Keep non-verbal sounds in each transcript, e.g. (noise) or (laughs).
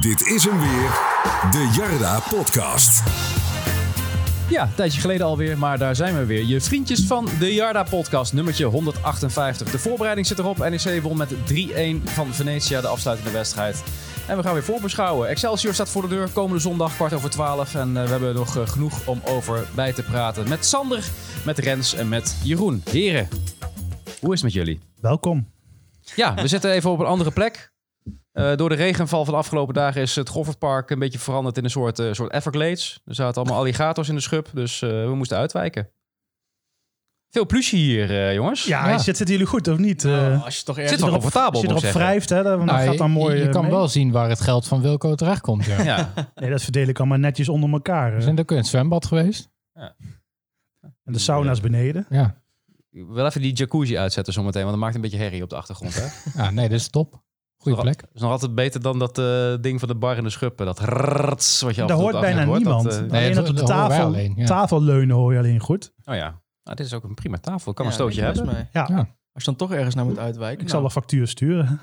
Dit is hem weer, de Jarda Podcast. Ja, een tijdje geleden alweer, maar daar zijn we weer. Je vriendjes van de Jarda Podcast, nummertje 158. De voorbereiding zit erop. NEC won met 3-1 van Venetia, de afsluitende wedstrijd. En we gaan weer voorbeschouwen. Excelsior staat voor de deur komende zondag kwart over twaalf. En eh, we hebben nog eh, genoeg om over bij te praten. Met Sander, met Rens en met Jeroen. Heren, hoe is het met jullie? Welkom. Ja, we zitten even op een andere plek. Eh, door de regenval van de afgelopen dagen is het Goffertpark een beetje veranderd in een soort, eh, soort Everglades. Er zaten allemaal alligators in de schub, dus eh, we moesten uitwijken. Veel plusje hier, eh, jongens. Ja, Zit, zitten jullie goed of niet? Eh, Nou, als je toch Zit ergens... wel erop- comfortabel, als je moet erop ik zeggen. wrijft, hè, dan Nou, gaat dan je- mooi. je eh, kan mee. wel zien waar het geld van Wilco terechtkomt. (laughs) Ja. Ja, Nee, dat verdeel ik allemaal netjes onder elkaar. We hè. zijn ook in het zwembad geweest. En de sauna's beneden. Ja. wel even die jacuzzi uitzetten zometeen, want dat maakt een beetje herrie op de achtergrond. Hè? Dat ja, nee, dat is top. Goeie Ra- plek. is nog altijd beter dan dat eh, ding van de bar in de schub. hè, Dat rrrts, wat je af en toe Daar hoort op de bijna achtergrond hoort, niemand. dat, eh, alleen dat- op de dat horen wij tafel, alleen, ja. tafelleunen hoor je alleen goed. oh ja, nou, dit is ook een prima tafel. Kan een Ja, stootje best hebben. mee. Ja. Ja. Als je dan toch ergens naar moet uitwijken. nou, Ik zal een factuur sturen.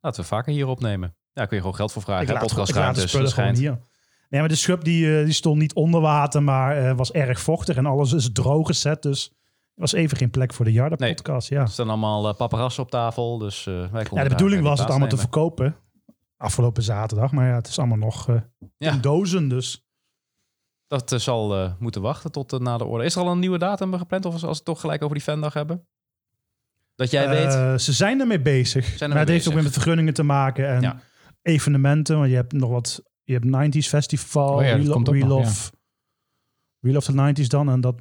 Laten we vaker hier opnemen. Ja, daar kun je gewoon geld voor vragen. ik hè, laat, ik laat de Podcastruimtes, spullen dat gewoon schijnt. hier. Nee, maar de schub die, eh, die stond niet onder water, maar eh, was erg vochtig. En alles is droog gezet, dus er was even geen plek voor de Jarda Nee. podcast. Ja. Er staan allemaal eh, paparazzen op tafel, dus eh, wij konden Ja, daar de bedoeling geen was het plaats allemaal te nemen. verkopen afgelopen zaterdag. Maar ja, het is allemaal nog eh, Ja. in dozen, dus... Dat eh, zal eh, moeten wachten tot eh, na de orde. Is er al een nieuwe datum gepland of als we het toch gelijk over die fandag hebben? Dat jij weet. Eh, ze zijn ermee bezig. ermee maar het heeft bezig. ook weer met vergunningen te maken en Ja. evenementen. Want je hebt nog wat. Je hebt 90s Festival, Oh ja, dat We, Lo- komt ook We nog, Love. We Love the 90s dan. En dat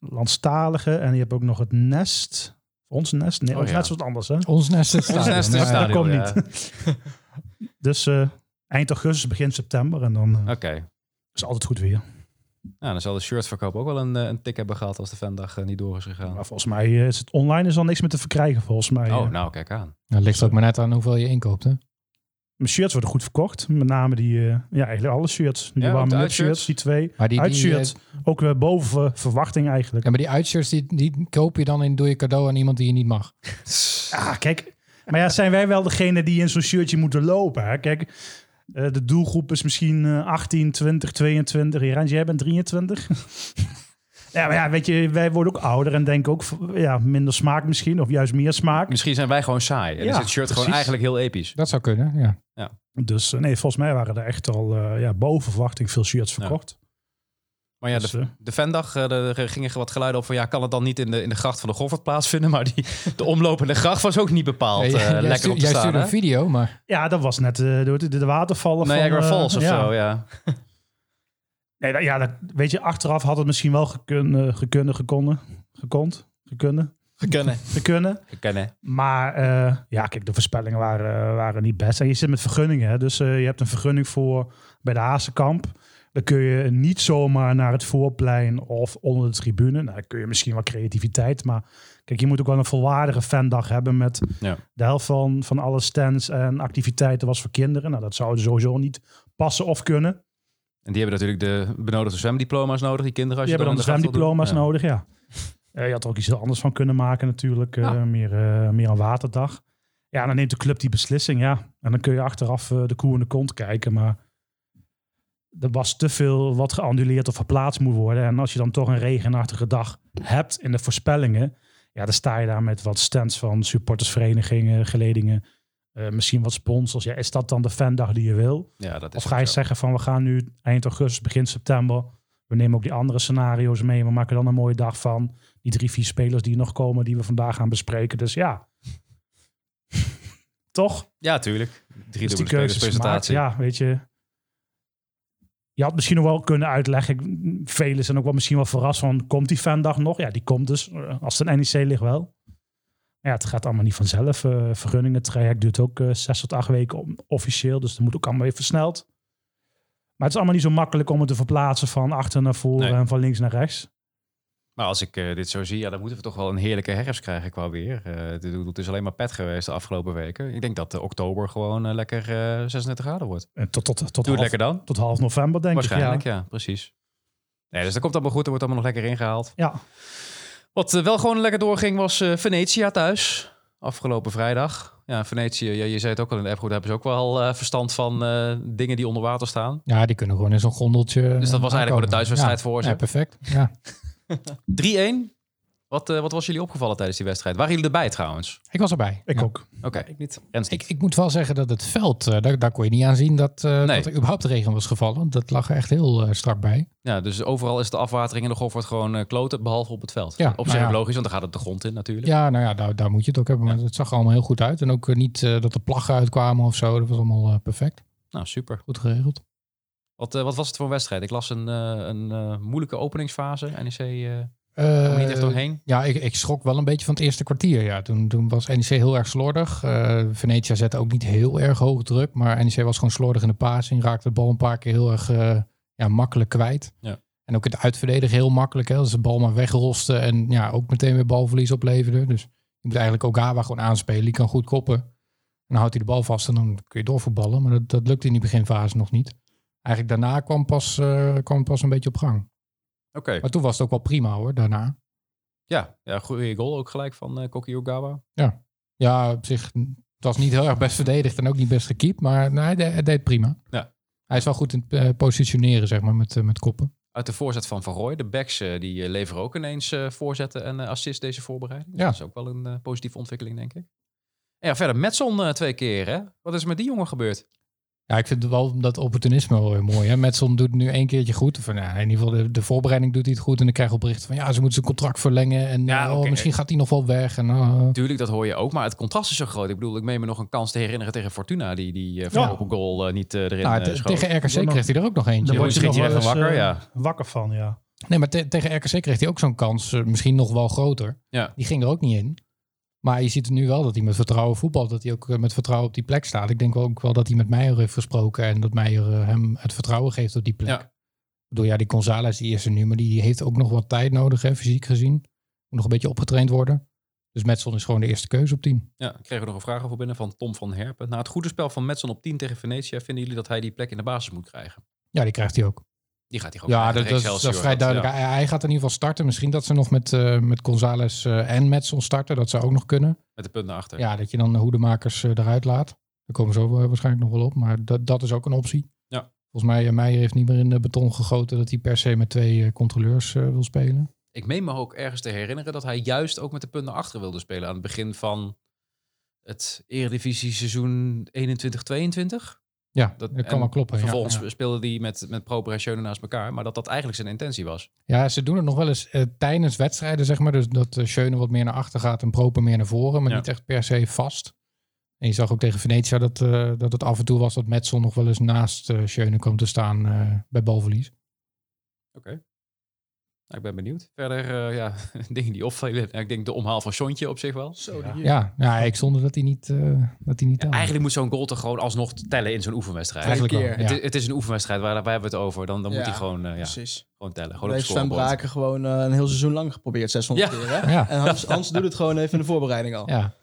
Nederlandstalige. En je hebt ook nog het Nest. Ons Nest. Nee, Oh ons ja. Nest is wat anders. Hè? Ons nest is het Ons stadion. nest in het Ja, stadion, komt ja. niet. Dus eh, eind augustus, begin september. En dan eh, (laughs) Oké. is altijd goed weer. Nou, dan zal de shirtverkoop ook wel een, eh, een tik hebben gehad als de fandag eh, niet door is gegaan. Maar volgens mij eh, is het online is al niks meer te verkrijgen. Volgens mij. eh. Oh, nou kijk aan. Dat ligt ook maar net aan hoeveel je inkoopt. Hè? Mijn shirts worden goed verkocht. Met name die, eh, ja, eigenlijk alle shirts. Die Ja, ook de warme up uitshirts. shirts, die twee. Maar die, die, Uitshirt. eh, Ook weer boven ver- verwachting eigenlijk. ja, maar die uitshirts die, die koop je dan in doe je cadeau aan iemand die je niet mag. Ah, kijk. Maar ja, zijn wij wel degene die in zo'n shirtje moeten lopen? Hè? Kijk, eh, de doelgroep is misschien eh, 18, 20, 22. Irans, jij bent 23. (laughs) ja, maar ja, weet je, wij worden ook ouder en denken ook ja, minder smaak misschien. Of juist meer smaak. Misschien zijn wij gewoon saai. En Ja, is het shirt gewoon precies. eigenlijk heel episch. Dat zou kunnen, ja. Dus eh, nee, volgens mij waren er echt al eh, ja, boven verwachting veel shirts verkocht. Maar ja, Dus, de, eh. de fandag, eh, er er gingen wat geluiden op van... ja, kan het dan niet in de, in de gracht van de Goffert plaatsvinden? Maar die, de omlopende gracht was ook niet bepaald Nee, eh, (laughs) jij lekker stuurt- op te jij staan. stuurt een hè? video, maar Ja, dat was net eh, door de, de watervallen van... Niagara eh, Falls of ja. zo, ja. Nee, dat- ja, dat, weet je, achteraf had het misschien wel gekunnen, gekunnen, gekonnen, gekond, gekunnen, Kennen. gekunnen. Ik ken, hè. Maar eh, ja, kijk, de voorspellingen waren, waren niet best. En je zit met vergunningen, hè? dus eh, je hebt een vergunning voor bij de Hazenkamp. Dan kun je niet zomaar naar het voorplein of onder de tribune. Nou, dan kun je misschien wel creativiteit, maar kijk, je moet ook wel een volwaardige fandag hebben met Ja. de helft van, van alle stands en activiteiten was voor kinderen. Nou, dat zou sowieso niet passen of kunnen. En die hebben natuurlijk de benodigde zwemdiploma's nodig, die kinderen. Als Je je hebt dan in de gracht wil doen. zwemdiploma's Ja. nodig, ja. Eh, je had er ook iets heel anders van kunnen maken natuurlijk. eh, meer, eh, meer een waterdag. Ja, dan neemt de club die beslissing, ja. En dan kun je achteraf eh, de koe in de kont kijken. Maar er was te veel wat geannuleerd of verplaatst moet worden. En als je dan toch een regenachtige dag hebt in de voorspellingen... Ja, dan sta je daar met wat stands van supportersverenigingen, geledingen... eh, misschien wat sponsors. Ja, is dat dan de fandag die je wil? Ja, dat is Of ga je ook zo. zeggen van we gaan nu eind augustus, begin september. We nemen ook die andere scenario's mee. We maken dan een mooie dag van. Die drie, vier spelers die nog komen, die we vandaag gaan bespreken. Dus ja. (laughs) Toch? Ja, tuurlijk. Drie dus Dus die spelers keuzes presentatie. gemaakt. Ja, weet je. Je had misschien nog wel kunnen uitleggen. Ik- Velen zijn ook wel misschien wel verrast van, komt die fandag nog? Ja, die komt dus. eh, Als het een NEC ligt wel. Maar Ja, het gaat allemaal niet vanzelf. Eh vergunningen traject duurt ook eh, zes tot acht weken om- officieel. Dus dat moet ook allemaal weer versneld. Maar het is allemaal niet zo makkelijk om het te verplaatsen van achter naar voren Nee. en van links naar rechts. Maar als ik eh, dit zo zie, ja, dan moeten we toch wel een heerlijke herfst krijgen qua weer. Eh, het, het is alleen maar pet geweest de afgelopen weken. Ik denk dat eh, oktober gewoon eh, lekker eh, 36 graden wordt. En tot, tot, tot, Doe het half, lekker dan. tot half november, denk ik. Ja. Waarschijnlijk, ja. precies. Nee, dus dat komt allemaal goed. Er wordt allemaal nog lekker ingehaald. ja, Wat eh, wel gewoon lekker doorging was eh Venetia thuis. Afgelopen vrijdag. ja Venetië, ja, je zei het ook al in de appgroep, daar hebben ze ook wel eh, verstand van eh, dingen die onder water staan. Ja, die kunnen gewoon in zo'n gondeltje. Dus dat was eigenlijk gewoon een thuiswedstrijd voor ze. eh, Ja, perfect. Ja. 3-1. Wat, eh, wat was jullie opgevallen tijdens die wedstrijd? Waren jullie erbij trouwens? Ik was erbij. Ik Ja. ook. Oké, Ik niet. Rens niet. Ik, ik moet wel zeggen dat het veld, eh, daar, daar kon je niet aan zien dat, eh, Nee. dat er überhaupt regen was gevallen. Dat lag er echt heel eh, strak bij. Ja, dus overal is de afwatering en de golf wordt gewoon eh, kloten, behalve op het veld. Ja, op zich nou ja. ook logisch, want dan gaat het de grond in natuurlijk. Ja, nou ja, daar, daar moet je het ook hebben. Maar het zag er allemaal heel goed uit. En ook eh, niet eh, dat er plaggen uitkwamen of zo. Dat was allemaal eh, perfect. Nou, super. Goed geregeld. Wat, eh, wat was het voor een wedstrijd? Ik las een, eh, een eh, moeilijke openingsfase. NEC eh kwam er niet echt Eh, doorheen. Ja, ik, ik schrok wel een beetje van het eerste kwartier. Ja. Toen, toen was NEC heel erg slordig. Eh Venetia zette ook niet heel erg hoog druk. Maar NEC was gewoon slordig in de passing. Raakte de bal een paar keer heel erg eh, ja, makkelijk kwijt. Ja. En ook het uitverdedigen heel makkelijk. Hè. Dat ze de bal maar wegrosten. En ja, ook meteen weer balverlies opleverde. Dus je moet eigenlijk Ogawa gewoon aanspelen. Die kan goed koppen. En dan houdt hij de bal vast en dan kun je doorvoetballen. Maar dat, dat lukte in die beginfase nog niet. Eigenlijk daarna kwam pas, eh, kwam pas een beetje op gang. Oké, Maar toen was het ook wel prima hoor, daarna. ja, ja, goede goal ook gelijk van eh Koki Ogawa. Ja, op zich. Het was niet heel erg best verdedigd en ook niet best gekiept. Maar nee, hij, de- hij deed prima. Ja. Hij is wel goed in het eh, positioneren, zeg maar, met, eh, met koppen. Uit de voorzet van Van Rooij. De backs eh, die eh, leveren ook ineens eh, voorzetten en eh, assist deze voorbereiding. Dus Ja. Dat is ook wel een eh, positieve ontwikkeling, denk ik. En ja, verder Metson eh, twee keer, hè? Wat is er met die jongen gebeurd? Ja, ik vind wel dat opportunisme wel weer mooi. Hè? Metson doet het nu één keertje goed. Of, nou, in ieder geval, de, de voorbereiding doet hij het goed. En dan krijg je bericht van, ja, ze moeten zijn contract verlengen. En Ja, oh, oké. misschien gaat hij nog wel weg. En, oh. Tuurlijk, dat hoor je ook, maar het contrast is zo groot. Ik bedoel, ik meen me nog een kans te herinneren tegen Fortuna, die, die eh, Ja. voorlopige goal eh, niet eh, erin Nou, eh, te- schoot. tegen RKC Ja, maar- kreeg hij er ook nog eentje. Dan Jeroen word je schrikt nog hier wel even eens, wakker, eh, ja. Wakker van, ja. Nee, maar te- tegen RKC kreeg hij ook zo'n kans. eh, misschien nog wel groter. Ja. Die ging er ook niet in. Maar je ziet nu wel dat hij met vertrouwen voetbalt. Dat hij ook eh, met vertrouwen op die plek staat. Ik denk wel ook wel dat hij met Meijer heeft gesproken. En dat Meijer eh, hem het vertrouwen geeft op die plek. Ja. Ik bedoel, ja, die González die is er nu. Maar die heeft ook nog wat tijd nodig, hè, fysiek gezien. Moet nog een beetje opgetraind worden. Dus Metson is gewoon de eerste keuze op 10. Ja, ik kreeg er nog een vraag over binnen van Tom van Herpen. Na het goede spel van Metson op 10 tegen Venetië, vinden jullie dat hij die plek in de basis moet krijgen? Ja, die krijgt hij ook. Die gaat hij gewoon Ja, krijgen dat, dat, tegen is- dat is Excelsior. vrij duidelijk. ja. Hij, hij gaat in ieder geval starten. Misschien dat ze nog met, eh met González eh, en Metson starten. Dat zou ook nog kunnen. met de punten achter. Ja, dat je dan de hoedemakers eh, eruit laat. Daar komen ze ook wel- waarschijnlijk nog wel op. Maar dat, dat is ook een optie. Ja. Volgens mij, eh, Meijer heeft niet meer in de beton gegoten dat hij per se met twee eh, controleurs eh, wil spelen. Ik meen me ook ergens te herinneren dat hij juist ook met de punten achter wilde spelen aan het begin van het Eredivisie seizoen 21-22. Ja, Dat- dat, en kan wel kloppen. Oh, ja. Vervolgens Ja, speelde hij met, met Proper en Schöne naast elkaar, maar dat dat eigenlijk zijn intentie was. Ja, ze doen het nog wel eens eh, tijdens wedstrijden, zeg maar. Dus dat eh Schöne wat meer naar achter gaat en Proper meer naar voren. Maar Ja. niet echt per se vast. En je zag ook tegen Venetia dat, eh, dat het af en toe was dat Metson nog wel eens naast eh Schöne kwam te staan eh, bij balverlies. Nou, ik ben benieuwd. Verder, eh, ja, (laughs) dingen die opvallen. Ja, Ik denk de omhaal van Sontje op zich wel. Zo, Ja. die, Ja, ja ik zonde dat hij niet, eh dat hij niet telde. Eigenlijk moet zo'n goal toch gewoon alsnog tellen in zo'n oefenwedstrijd. Eigenlijk wel, keer. ja. Het, is, het is een oefenwedstrijd, waar, waar hebben we het over? Dan, dan moet Ja. hij gewoon, eh, ja, Precies. gewoon tellen. Gewoon Gewoon op heeft Sven scorebord. Braken gewoon eh, een heel seizoen lang geprobeerd, 600 Ja. keer. Hè? Ja. En Hans, Hans doet het gewoon even in de voorbereiding al. Ja.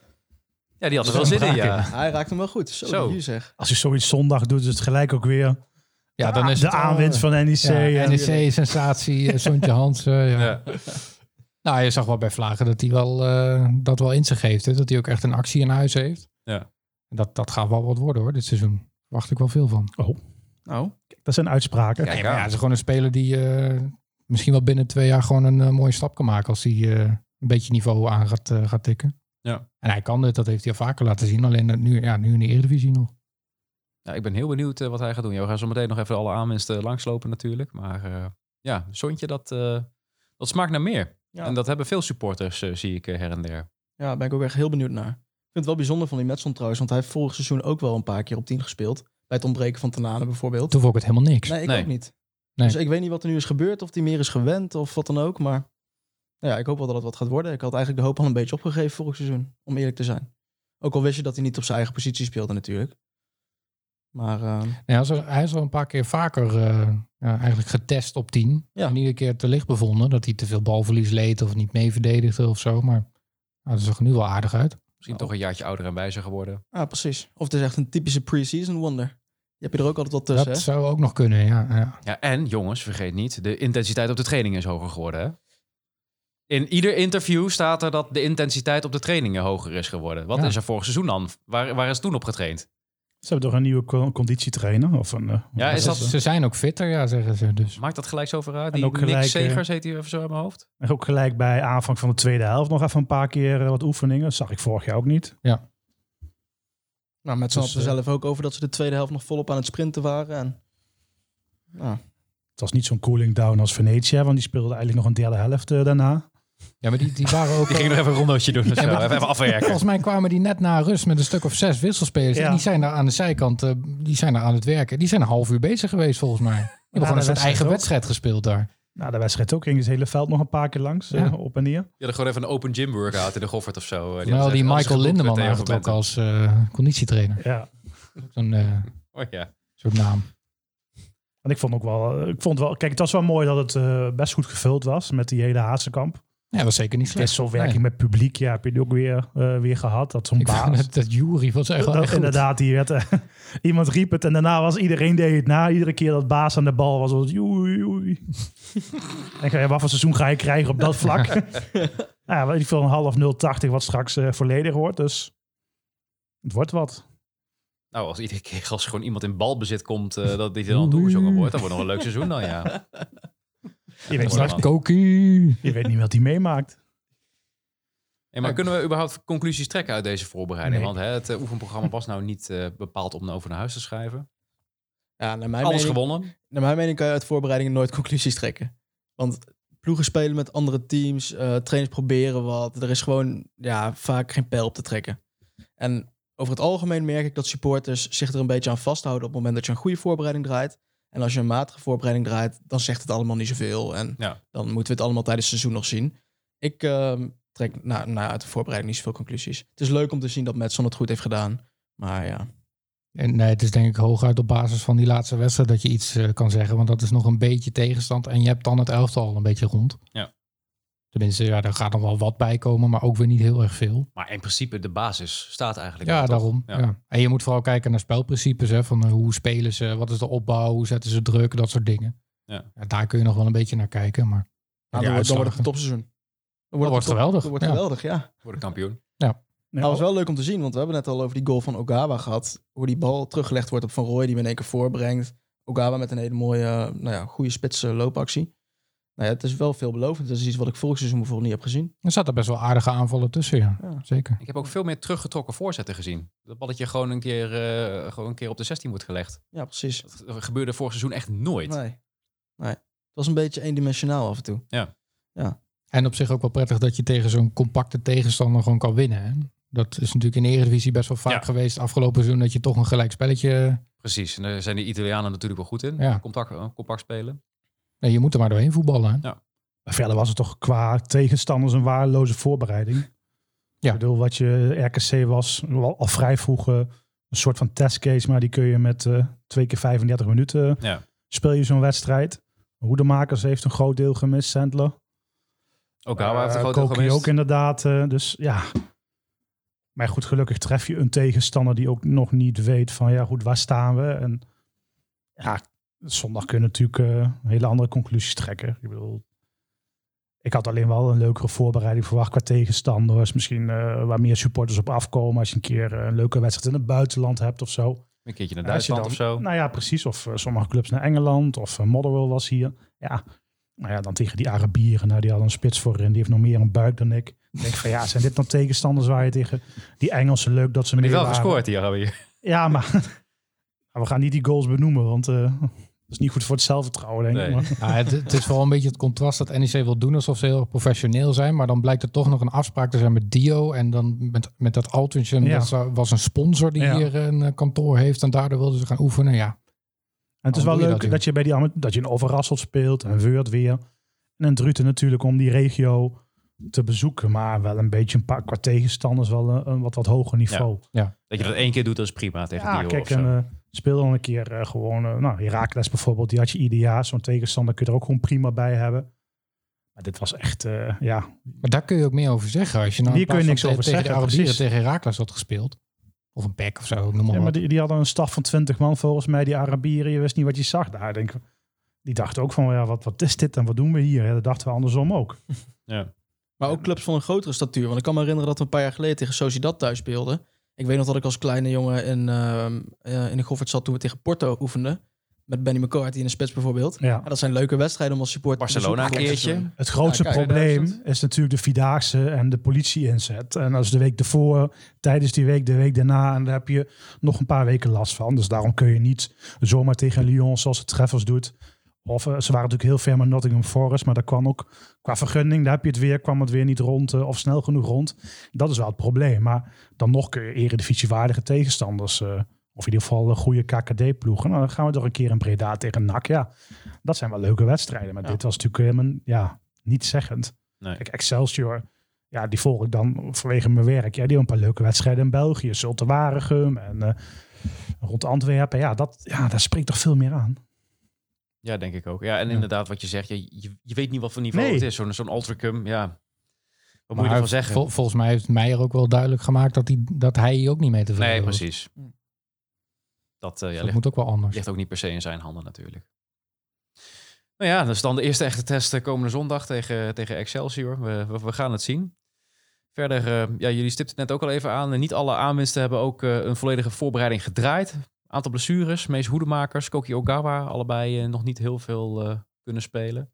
Ja, die had er Sven wel zin in, Braken. ja. Hij raakt hem wel goed. Zo, Zo. hier zeg. Als je zoiets zondag doet, is het gelijk ook weer Ja, dan is Ah, de het eh, al- aanwinst van E NEC. Ja, en- NEC, sensatie, eh, Sontje Hansen. Ja. Ja. Nou, je zag wel bij Vlagen dat hij wel, eh, dat wel in zich heeft. Hè? Dat hij ook echt een actie in huis heeft. Ja. Dat, dat gaat wel wat worden hoor, dit seizoen. Verwacht ik wel veel van. Nou, Dat zijn uitspraken. Kijk Nee, maar ja, aan. het is gewoon een speler die eh, misschien wel binnen twee jaar gewoon een eh, mooie stap kan maken. Als hij eh, een beetje niveau aan gaat, eh, gaat tikken. Ja. En hij kan dit, dat heeft hij al vaker laten zien. Alleen dat nu, ja, nu in de Eredivisie nog. Nou, ik ben heel benieuwd eh, wat hij gaat doen. Ja, we gaan zo meteen nog even alle aanwinsten langslopen natuurlijk. Maar eh, ja, Sontje, dat, eh, dat smaakt naar meer. Ja. En dat hebben veel supporters, eh, zie ik eh, her en der. Ja, daar ben ik ook echt heel benieuwd naar. Ik vind het wel bijzonder van die Metson trouwens, want hij heeft vorig seizoen ook wel een paar keer op 10 gespeeld. Bij het ontbreken van Tanane bijvoorbeeld. Toen vond ik het helemaal niks. Nee, ik Nee. ook niet. Nee. Dus ik weet niet wat er nu is gebeurd, of die meer is gewend of wat dan ook. Maar nou ja, ik hoop wel dat het wat gaat worden. Ik had eigenlijk de hoop al een beetje opgegeven vorig seizoen, om eerlijk te zijn. Ook al wist je dat hij niet op zijn eigen positie speelde natuurlijk. Maar ehm, Ja, hij is al- hij is al een paar keer vaker eh, ja, eigenlijk getest op 10. Ja. En iedere keer te licht bevonden dat hij te veel balverlies leed of niet mee verdedigde of zo. Maar nou, dat zag er nu wel aardig uit. Misschien Oh. toch een jaartje ouder en wijzer geworden. ah, precies. Of het is echt een typische pre-season wonder. Die heb je er ook altijd wat tussen, dat Dus, hè? zou ook nog kunnen, ja. ja. Ja, en jongens, vergeet niet, de intensiteit op de training is hoger geworden. Hè? In ieder interview staat er dat de intensiteit op de trainingen hoger is geworden. Wat Ja. is er vorig seizoen dan? Waar, waar is toen op getraind? Ze hebben toch een nieuwe co- conditietrainer? Of een, eh, Ja, wat is het? dat- Ze zijn ook fitter, ja, zeggen ze. Dus Maakt dat gelijk zoveel uit? En Die ook Nick gelijk, Segers heet hij even zo in mijn hoofd. En ook gelijk bij aanvang van de tweede helft nog even een paar keer eh, wat oefeningen. Dat zag ik vorig jaar ook niet. Nou, met snappen Dus, ze eh, zelf ook over dat ze de tweede helft nog volop aan het sprinten waren. En, nou, Het was niet zo'n cooling down als Venetia, want die speelde eigenlijk nog een derde helft eh, daarna. ja, maar die, die waren ook. Die ging nog even een rondootje doen. of zo. maar- even (laughs) afwerken. Volgens mij kwamen die net na rust met een stuk of zes wisselspelers. Ja. En die zijn daar aan de zijkant, eh, die zijn daar aan het werken. Die zijn een half uur bezig geweest volgens mij. Die hebben de gewoon een soort wedstrijd eigen ook. wedstrijd gespeeld daar. Na Nou, de wedstrijd ook ging het hele veld nog een paar keer langs, Ja. eh, op en neer. Ja, dan gewoon even een open gym workout in de Goffert of zo. Eh, Terwijl hadden die ze- hadden ze Michael geboekt Lindeman met Theo van eigenlijk ook als eh, conditietrainer. Ja. Zo'n eh, Bentum. Oh, ja. soort naam. Want ik vond ook wel, eh, ik vond wel, kijk, het was wel mooi dat het eh, best goed gevuld was met die hele Haatsenkamp. Ja, dat was zeker niet slecht. Wisselwerking met publiek, ja, heb je die ook weer, eh, weer gehad. Dat zo'n Ik vond baas. het, dat Jury was echt wel Dat- echt goed. inderdaad, die werd, eh, (laughs) iemand riep het en daarna was iedereen deed het na. Iedere keer dat baas aan de bal was, was het joei, joei. (laughs) Denk je, ja, wat voor seizoen ga je krijgen op (laughs) dat vlak? (laughs) Nou ja, in ieder geval een half 080 wat straks eh, volledig wordt, dus het wordt wat. Nou, als iedere keer als er gewoon iemand in balbezit komt, eh, dat die dan toegezongen wordt, dan wordt nog een leuk seizoen dan, (laughs) ja. Je weet, En Mooi straks man. Koki. je weet niet wat hij meemaakt. Hey, maar kunnen we überhaupt conclusies trekken uit deze voorbereiding? Nee. Want hè, het eh, oefenprogramma was nou niet eh, bepaald om over naar huis te schrijven. ja, naar mijn, Alles mening, gewonnen. naar mijn mening kan je uit voorbereidingen nooit conclusies trekken. Want ploegen spelen met andere teams, eh, trainers proberen wat. Er is gewoon ja, vaak geen pijl op te trekken. En over het algemeen merk ik dat supporters zich er een beetje aan vasthouden... op het moment dat je een goede voorbereiding draait. En als je een matige voorbereiding draait, dan zegt het allemaal niet zoveel. En Ja. dan moeten we het allemaal tijdens het seizoen nog zien. Ik ehm, trek na, na uit de voorbereiding niet zoveel conclusies. Het is leuk om te zien dat Metson het goed heeft gedaan. Maar ja, En nee, het is denk ik hooguit op basis van die laatste wedstrijd dat je iets eh, kan zeggen. Want dat is nog een beetje tegenstand. En je hebt dan het elftal al een beetje rond. Ja. Tenminste, ja, daar gaat nog wel wat bij komen, maar ook weer niet heel erg veel. Maar in principe, de basis staat eigenlijk. ja, al, toch? daarom. Ja. Ja. En je moet vooral kijken naar spelprincipes. Hè, van eh, hoe spelen ze, wat is de opbouw, hoe zetten ze druk, dat soort dingen. Ja. daar kun je nog wel een beetje naar kijken. Maar dan, Ja, wordt, dan wordt het een uitslagen. topseizoen. Dan wordt het top- geweldig, Dan wordt ja. het geweldig, ja. Voor de kampioen. Dat Nou, was wel leuk om te zien, want we hebben net al over die goal van Ogawa gehad. Hoe die bal teruggelegd wordt op Van Rooij, die hem in één keer voorbrengt. Ogawa met een hele mooie, eh, nou ja, goede spitse loopactie. Nou ja, het is wel veelbelovend. Dat is iets wat ik vorig seizoen bijvoorbeeld niet heb gezien. er zaten best wel aardige aanvallen tussen, ja. Ja. Zeker. Ik heb ook veel meer teruggetrokken voorzetten gezien. Dat balletje gewoon een keer, eh, gewoon een keer op de 16 wordt gelegd. Ja, precies. Dat gebeurde vorig seizoen echt nooit. Nee. nee. Het was een beetje eendimensionaal af en toe. En op zich ook wel prettig dat je tegen zo'n compacte tegenstander gewoon kan winnen. Hè? Dat is natuurlijk in de Eredivisie best wel vaak Ja. geweest afgelopen seizoen dat je toch een gelijk spelletje... Precies. En daar zijn de Italianen natuurlijk wel goed in. Ja. Contact, eh, compact spelen. Nee, je moet er maar doorheen voetballen. hè. verder was het toch qua tegenstanders een waardeloze voorbereiding. Ja. Ik bedoel, wat je RKC was, wel al vrij vroeg eh, een soort van testcase, maar die kun je met eh, twee keer 35 minuten eh, Ja. speel je zo'n wedstrijd. Hoedemakers heeft een groot deel gemist, Sandler. Ook daar heeft een Eh, groot deel Koki gemist. ook inderdaad. eh, dus ja. Maar goed, gelukkig tref je een tegenstander die ook nog niet weet van ja goed, waar staan we? En ja, zondag kun je natuurlijk eh, hele andere conclusies trekken. Ik bedoel, ik had alleen wel een leukere voorbereiding verwacht qua tegenstanders. Misschien eh, waar meer supporters op afkomen als je een keer eh, een leuke wedstrijd in het buitenland hebt of zo. Een keertje naar Ja, als je Duitsland of Oh. zo. Nou ja, precies. Of eh, sommige clubs naar Engeland. Of eh, Motherwell was hier. Ja. Nou ja, dan tegen die Arabieren. Nou, die hadden een spits voorin. Die heeft nog meer een buik dan ik. Ik denk van ja, zijn dit dan tegenstanders waar je tegen die Engelsen leuk dat ze maar die meer wel waren. gescoord hier hebben we hier. Ja, maar (laughs) maar we gaan niet die goals benoemen. Want eh, dat is niet goed voor het zelfvertrouwen, denk ik. Nee. Maar- Ja, het, het is vooral een beetje het contrast dat NEC wil doen alsof ze heel erg professioneel zijn. Maar dan blijkt er toch nog een afspraak te zijn met Dio. En dan met, met dat Altenchen Ja. dat was, eh, was een sponsor die Ja. hier een eh, kantoor heeft. En daardoor wilden ze gaan oefenen. Ja, En het is wel Waarom doe je leuk dat, dat, joh? je bij die amat- dat je een Overrassel speelt en Weurt weer. En een Druten natuurlijk om die regio te bezoeken. Maar wel een beetje een paar qua tegenstanders wel eh, een, een wat, wat hoger niveau. (laughs) Dat je dat één keer doet, dat is prima tegen Ja, die kijk, en, eh, speel dan een keer eh, gewoon... eh, nou, Herakles bijvoorbeeld, die had je ieder jaar. Zo'n tegenstander kun je er ook gewoon prima bij hebben. Maar dit was echt, eh, ja... Maar daar kun je ook meer over zeggen. Als je nou Hier in plaats kun je van niks over te- tegen zeggen, de Arabieren precies. tegen Herakles had gespeeld. Of een pek of zo, ik noem maar ja, maar wat. die, die hadden een staf van 20 man volgens mij. Die Arabieren, je wist niet wat je zag daar. Ik Denk, die dachten ook van, ja, wat, wat is dit en wat doen we hier? Ja, dat dachten we andersom ook. Ja. Maar ook clubs van een grotere statuur. Want ik kan me herinneren dat we een paar jaar geleden tegen Sociedad thuis speelden. Ik weet nog dat ik als kleine jongen in, ehm, eh, in de Goffert zat toen we tegen Porto oefenden. Met Benny McCarthy in de spits bijvoorbeeld. Ja. Ja, dat zijn leuke wedstrijden om als supporter te Barcelona bezoeken. een keertje. Het grootste Ja, kijk, probleem 2000. is natuurlijk de Vierdaagse en de politie-inzet. En als de week ervoor, tijdens die week, de week daarna... en daar heb je nog een paar weken last van. Dus daarom kun je niet zomaar tegen Lyon zoals het Treffers doet. Of eh, ze waren natuurlijk heel ver met Nottingham Forest... maar daar kwam ook qua vergunning, daar heb je het weer... kwam het weer niet rond eh, of snel genoeg rond. Dat is wel het probleem. Maar dan nog kun je eredivisiewaardige tegenstanders... eh, of in ieder geval eh, goede KKD-ploegen. Nou, dan gaan we toch een keer in Breda tegen NAC. Ja, dat zijn wel leuke wedstrijden. Maar Ja. dit was natuurlijk helemaal... Ja, niet zeggend. Nee. Kijk, Excelsior, ja, die volg ik dan vanwege mijn werk. Ja, die hebben een paar leuke wedstrijden in België. Zulte Waregem en eh, rond Antwerpen. Ja, dat, ja, daar spreekt toch veel meer aan. Ja, denk ik ook. Ja, en inderdaad, wat je zegt, je, je, je weet niet wat voor niveau Nee. het is. Zo'n zo'n Ultracum, ja. Wat moet je ervan zeggen? vol- volgens mij heeft Meijer ook wel duidelijk gemaakt dat hij, dat hij ook niet mee tevreden nee, was. precies. Dat, eh, Dus ja, dat ligt, moet ook wel anders. ligt ook niet per se in zijn handen natuurlijk. Nou ja, dat is dan de eerste echte test eh, komende zondag tegen, tegen Excelsior. We, we, we gaan het zien. Verder, eh, ja, jullie stipten het net ook al even aan. eh, Niet alle aanwinsten hebben ook eh, een volledige voorbereiding gedraaid. Aantal blessures, Mees Hoedemakers, Koki Ogawa, allebei eh, nog niet heel veel eh, kunnen spelen.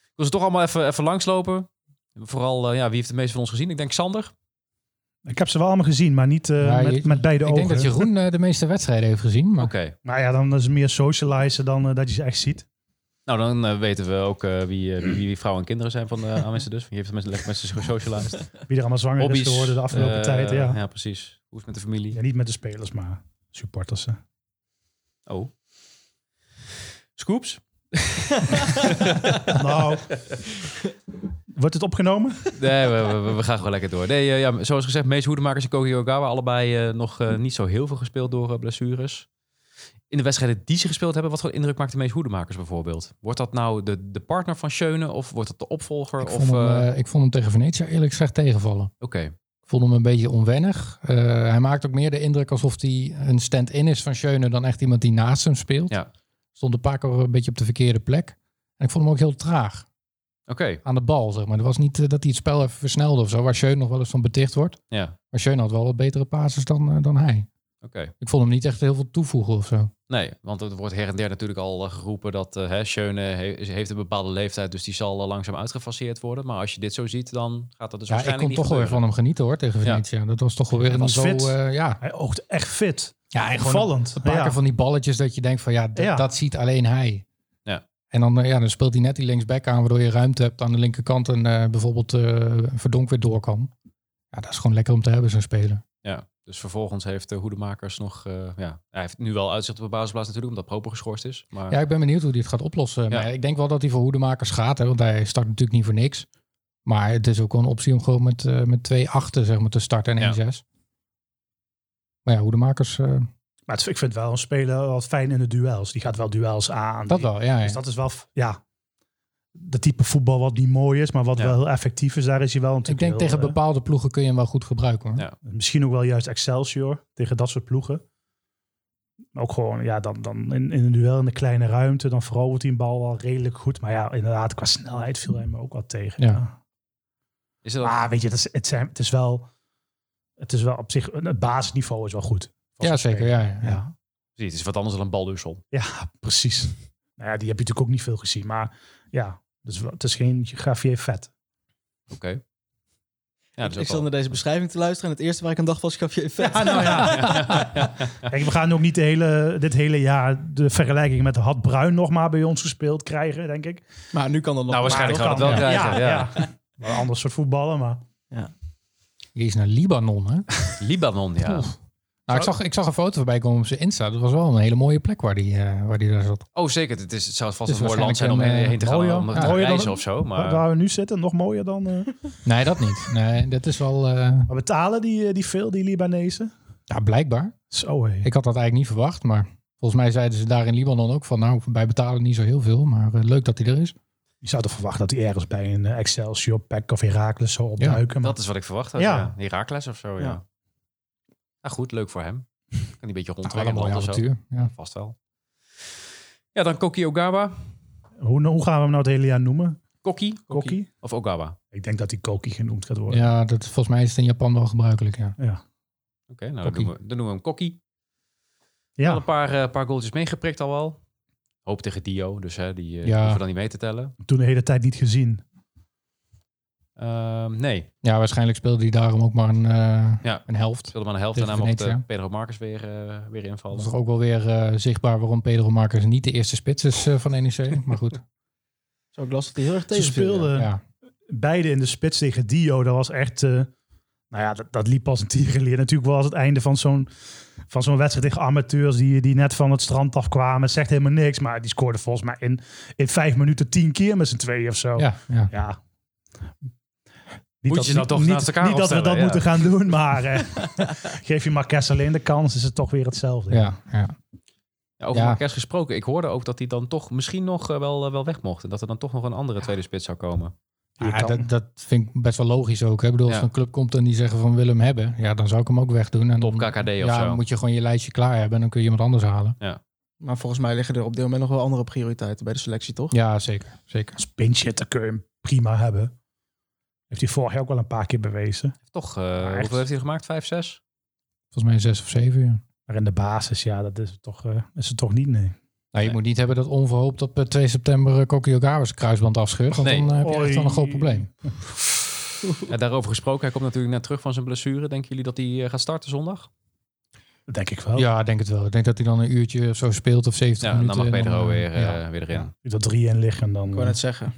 Ik wil ze toch allemaal even, even langslopen. Vooral, eh, ja, wie heeft de meeste van ons gezien? Ik denk Sander. Ik heb ze wel allemaal gezien, maar niet eh, Ja, je- met, met beide ik ogen. denk dat Jeroen eh, de meeste wedstrijden heeft gezien. Maar Oké. Maar ja, dan is het meer socializen dan eh, dat je ze echt ziet. Nou, dan eh, weten we ook eh, wie, eh, wie, wie vrouwen en kinderen zijn van de aanwinsten dus. Wie heeft mensen lekker met z'n gesocialized? Wie er allemaal zwanger Hobby's. is geworden de afgelopen eh, tijd. Ja. Ja, precies. Hoe is het met de familie? Ja, niet met de spelers, maar supporters. (laughs) eh. Oh. Scoops? nou, wordt het opgenomen? Nee, we, we- we, we gaan gewoon lekker door. Nee, eh, ja, zoals gezegd, Mees Hoedemakers en Koki Ogawa allebei eh, nog eh, niet zo heel veel gespeeld door eh, blessures. In de wedstrijden die ze gespeeld hebben, wat voor indruk maakt de Mees Hoedemakers bijvoorbeeld? Wordt dat nou de, de partner van Schöne of wordt dat de opvolger? ik, of, vond hem, eh, Oké. eh, ik vond hem tegen Venetia eerlijk gezegd tegenvallen. Ik vond hem een beetje onwennig. Eh, hij maakt ook meer de indruk alsof hij een stand-in is van Schöne dan echt iemand die naast hem speelt. Ja. Stond een paar keer een beetje op de verkeerde plek. En ik vond hem ook heel traag Oké, aan de bal, zeg maar. Het was niet eh, dat hij het spel even versnelde of zo, waar Schöne nog wel eens van beticht wordt. ja. Maar Schöne had wel wat betere passes dan, eh, dan hij. Oké. Ik vond hem niet echt heel veel toevoegen of zo. Nee, want het wordt her en der natuurlijk al eh, geroepen dat eh hè, Schöne he- is- heeft een bepaalde leeftijd, dus die zal eh, langzaam uitgefaseerd worden. Maar als je dit zo ziet, dan gaat dat dus ja, ik waarschijnlijk kon niet toch wel weer gebeuren. van hem genieten hoor, tegen Ja. Venetia. Dat was toch wel weer Hij een was niveau... fit. eh, ja. Hij oogt echt fit. ja, en gewoon Opvallend. Een paar Ja. keer van die balletjes dat je denkt van ja, dat, Ja. dat ziet alleen hij. Ja. En dan, eh, ja, dan speelt hij net die linksback aan, waardoor je ruimte hebt aan de linkerkant en eh, bijvoorbeeld eh, Verdonk weer door kan. Ja, dat is gewoon lekker om te hebben, zo'n speler. Ja, dus vervolgens heeft de Hoedemakers nog... eh, ja, hij heeft nu wel uitzicht op de basisplaats natuurlijk, omdat Proper geschorst is. Maar Ja, ik ben benieuwd hoe hij het gaat oplossen. Maar Ja. ik denk wel dat hij voor hoedemakers gaat, hè, want hij start natuurlijk niet voor niks. Maar het is ook wel een optie om gewoon met, eh, met twee achten zeg maar, te starten en Ja. 1-6. Maar ja, hoedemakers, eh, Maar het- ik vind wel een speler wat fijn in de duels. Die gaat wel duels aan. dat Die- wel. Ja, ja. Dus dat is wel, f- ja, de type voetbal wat niet mooi is, maar wat Ja. wel heel effectief is. Daar is hij wel ik natuurlijk denk heel, tegen eh, bepaalde ploegen kun je hem wel goed gebruiken. Hoor. Ja. Misschien ook wel juist Excelsior, tegen dat soort ploegen. Maar Ook gewoon, ja, dan, dan in, in een duel in de kleine ruimte, dan verovert hij een bal wel redelijk goed. Maar ja, inderdaad, qua snelheid viel hij me ook wat tegen. Ja. is het dan- Maar weet je, dat is, het, zijn, het is wel, het is wel op zich, het basisniveau is wel goed. Van Ja, zo'n zeker. speler. Ja, ja, ja. Ja. Zie, het is wat anders dan een baldussel. Ja, precies. Nou ja, die heb je natuurlijk ook niet veel gezien. Maar ja, dus wel- het is geen Gravier vet. Oké. Ja, dat Ik is zat ook naar wel... Ah, deze beschrijving te luisteren en het eerste waar ik aan dacht was, gaf je effect. Ja, nou ja. Kijk, we gaan ook niet de hele, dit hele jaar de vergelijking met Had Bruin nog maar bij ons gespeeld krijgen, denk ik. (laughs) Maar nu kan dat nog. Nou, waarschijnlijk gaan we dat wel Ja. krijgen. Ja, Wel een ander soort voetballen, maar Die is naar Libanon, hè? (laughs) Libanon, ja. Oef. Nou, ik, zag, ik zag een foto voorbij komen op zijn Insta. Dat was wel een hele mooie plek waar die, eh, waar die daar zat. Oh, zeker. Het, is, het zou vast Dus een mooi land zijn om heen, waarschijnlijk heen te een, gaan, eh, om mooier- te ja. mooier reizen dan- of zo. waar- Maar waar we nu zitten, nog mooier dan... eh, Nee, dat niet. Nee, dat is wel... eh, maar betalen die, eh, die veel, die Libanezen? ja, blijkbaar. Zo, hé. Ik had dat eigenlijk niet verwacht, maar... Volgens mij zeiden ze daar in Libanon ook van... Nou, wij betalen niet zo heel veel, maar eh, leuk dat hij er is. Je zou toch verwachten dat die ergens bij een eh, Excelsior, PEC of Heracles zou opduiken. maar dat is wat ik verwacht had. Ja. Ja. Herakles of zo, ja. Ja. Nou goed, leuk voor hem. Kan hij een beetje Nou, wel rondtrekken in een het mooi land of zo. avontuur. Ja. Vast wel. Ja, dan Koki Ogawa. hoe, hoe gaan we hem nou het hele jaar noemen? Kokkie? Kokkie? Of Ogawa? Oké, Ik denk dat die Koki genoemd gaat worden. Ja, dat, volgens mij is het in Japan wel gebruikelijk, ja. nou dan Kokkie. noemen, we, dan noemen we hem Kokkie. Al Ja, een paar, eh, paar goaltjes meegeprikt al wel. Hoop tegen Dio, dus hè, die eh Ja. hoeven we dan niet mee te tellen. toen de hele tijd niet gezien. Ehm, nee, Ja, waarschijnlijk speelde hij daarom ook maar een, eh, Ja. een helft. speelde maar een helft en Tegen dan mocht eh, Venetia. Pedro Marcus weer, eh, weer Dat invallen. is toch ook wel weer eh, zichtbaar waarom Pedro Marcus niet de eerste spits is eh, van NEC. Maar goed, Zo, ik las dat hij heel erg Ze tegen speelden ja. beide in de spits tegen Dio. Dat was echt... eh, nou ja, dat, dat liep pas een tierenleer. Natuurlijk wel als het einde van zo'n van zo'n wedstrijd tegen amateurs... Die, die net van het strand afkwamen. Het zegt helemaal niks. Maar die scoorde volgens mij in, in vijf minuten tien keer met z'n tweeën of zo. ja, ja. Ja. Moet je ze nou toch niet, naast elkaar Niet dat we dat opstellen, ja. moeten gaan doen, (laughs) maar eh, geef je Marques alleen de kans, is het toch weer hetzelfde. ja, ja. Ja, over Ja. Marquez gesproken, ik hoorde ook dat hij dan toch misschien nog eh, wel, eh, wel weg mocht. En dat er dan toch nog een andere tweede spits zou komen. Je Ja, kan- dat, dat vind ik best wel logisch ook. Hè? Ik bedoel, als Ja. een club komt en die zeggen van wil hem hebben, ja, dan zou ik hem ook wegdoen. En Top dan- KKD of ja, zo. dan moet je gewoon je lijstje klaar hebben en dan kun je iemand anders halen. Maar volgens mij liggen er op dit moment nog wel andere prioriteiten bij de selectie, toch? Ja, zeker. zeker. Als pinchitter kun je hem prima hebben. Heeft hij vorig jaar ook wel een paar keer bewezen. Toch, eh, echt? hoeveel heeft hij gemaakt? Vijf, zes? Volgens mij zes of zeven. Ja. Maar in de basis, ja, dat is het toch, eh, is het toch niet, nee. Nou, je Nee. moet niet hebben dat onverhoopt op eh, 2 september eh, Kokki Ogawa zijn kruisband afscheurt. Want Nee. dan eh, heb je echt Oei. wel een groot probleem. Ja, daarover gesproken, hij komt natuurlijk net terug van zijn blessure. Denken jullie dat hij eh, gaat starten zondag? Dat denk ik wel. Ja, ik denk het wel. Ik denk dat hij dan een uurtje of zo speelt of 70 Ja, dan minuten. mag en Pedro eh, weer, eh, ja. weer erin. Ja. Nu dat drie in liggen, dan... eh, Ik wou net zeggen.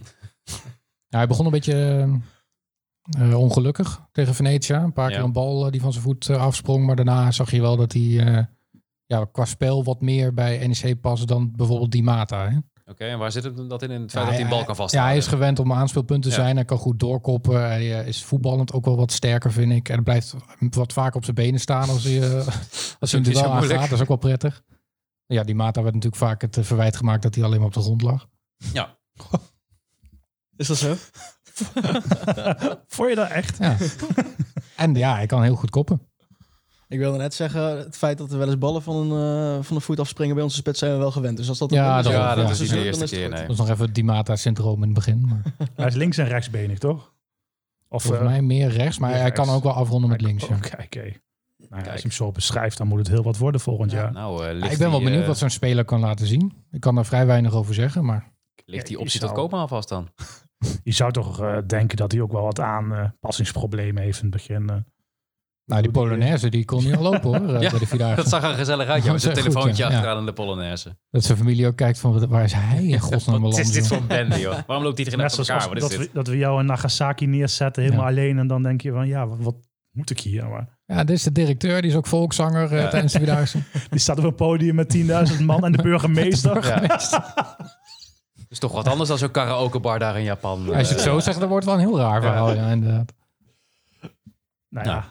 Ja, hij begon een beetje eh, eh, ongelukkig tegen Venetia. Een paar Ja. keer een bal eh, die van zijn voet eh, afsprong. Maar daarna zag je wel dat hij eh, ja, qua spel wat meer bij NEC past dan bijvoorbeeld die Mata. Hè? Oké, en waar zit het hem dat in? In het Ja, feit dat hij een bal kan Ja, vasthouden? hij is gewend om een aanspeelpunt te Ja. zijn. Hij kan goed doorkoppen. Hij eh, is voetballend ook wel wat sterker, vind ik. En hij blijft wat vaker op zijn benen staan (laughs) als hij, eh, als hij niet hem zo wel moeilijk. aangaat. Dat is ook wel prettig. Ja, die Mata werd natuurlijk vaak het eh, verwijt gemaakt dat hij alleen maar op de grond lag. Ja. Is dat zo? Vond je dat echt? Ja. (laughs) en ja, hij kan heel goed koppen. Ik wilde net zeggen, het feit dat er wel eens ballen van een, eh, van een voet afspringen bij onze spits zijn we wel gewend. Dus als dat een Ja, probleem is, dat- Ja, dat ja. is niet dan de eerste het keer, goed. nee. Dat was nog even het Dimata-syndroom in het begin. (laughs) Maar Hij is links en rechtsbenig, toch? Of, volgens eh, mij meer rechts, maar meer hij kan rechts. ook wel afronden met links. ja. Oh, kijk, hé. Nou ja, Kijk. als je hem zo beschrijft, dan moet het heel wat worden volgend Ja. jaar. Nou, eh, Ja, ligt ik ben wel die, benieuwd eh, wat zo'n speler kan laten zien. Ik kan daar vrij weinig over zeggen, Nou, maar Ligt die Ja, optie je tot zou- kopen alvast dan? Je zou toch eh, denken dat hij ook wel wat aanpassingsproblemen heeft in het begin. eh. nou, die Hoe die- Polonaise die kon niet al lopen (laughs) hoor, eh, Ja, bij de Vierdaagse. Dat zag er gezellig (laughs) uit, ja, Dat met zijn is echt goed, telefoontje ja. achteraan in de Polonaise. Dat zijn familie ook kijkt van wat- waar is hij in godsnaam Wat beland? is dit joh? voor bende, joh? Waarom loopt iedereen Net achter zoals elkaar? als- Wat is dat, dit? we, dat we jou in Nagasaki neerzetten, helemaal Ja. alleen. En dan denk je van, ja, wat, wat moet ik hier? Maar Ja, dit is de directeur, die is ook volkszanger eh, Ja. tijdens (laughs) de Vierdaagse. die staat op een podium met 10.000 man en (laughs) de burgemeester. Ja. Het is toch wat anders dan zo'n karaokebar daar in Japan. Eh, Als je het zo zegt, dan wordt het wel een heel raar verhaal. Ja, inderdaad. Nou ja,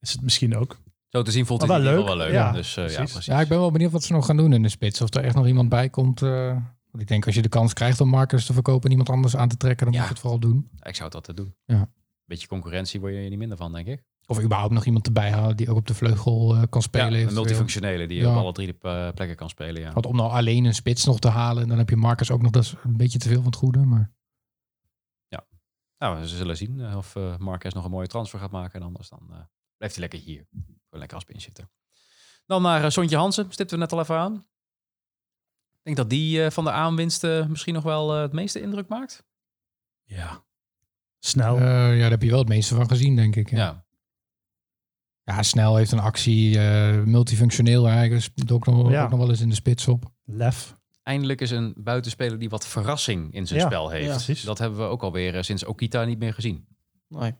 is het misschien ook. Zo te zien vond Maar hij het in wel ieder geval wel leuk. leuk. dus, Ja, eh, ja, precies. precies. ja, ik ben wel benieuwd wat ze nog gaan doen in de spits. Of er echt nog iemand bij komt. eh, want ik denk als je de kans krijgt om Marcus te verkopen en iemand anders aan te trekken, dan Ja. moet je het vooral doen. Ik zou dat doen. Ja. Beetje concurrentie word je niet minder van, denk ik. Of überhaupt nog iemand erbij halen die ook op de vleugel eh, kan spelen. een eventueel. multifunctionele die Ja. op alle drie de eh, plekken kan spelen. Ja. Want om nou alleen een spits nog te halen, dan heb je Marcus ook nog, dat is een beetje te veel van het goede. Maar Nou, ze zullen zien eh, of eh Marquez nog een mooie transfer gaat maken. En anders dan eh, blijft hij lekker hier. Gewoon lekker als zitten. Dan naar eh, Sontje Hansen. Stipten we net al even aan. Ik denk dat die eh, van de aanwinsten misschien nog wel eh, het meeste indruk maakt. Ja. Snel. eh, ja, daar heb je wel het meeste van gezien, denk ik. Ja, snel heeft een actie, eh, multifunctioneel eigenlijk. Speelt ook nog, Ja. ook nog wel eens in de spits op. Lef. Eindelijk is een buitenspeler die wat verrassing in zijn Ja, spel heeft. ja, precies. Dat hebben we ook alweer eh, sinds Okita niet meer gezien. Nee.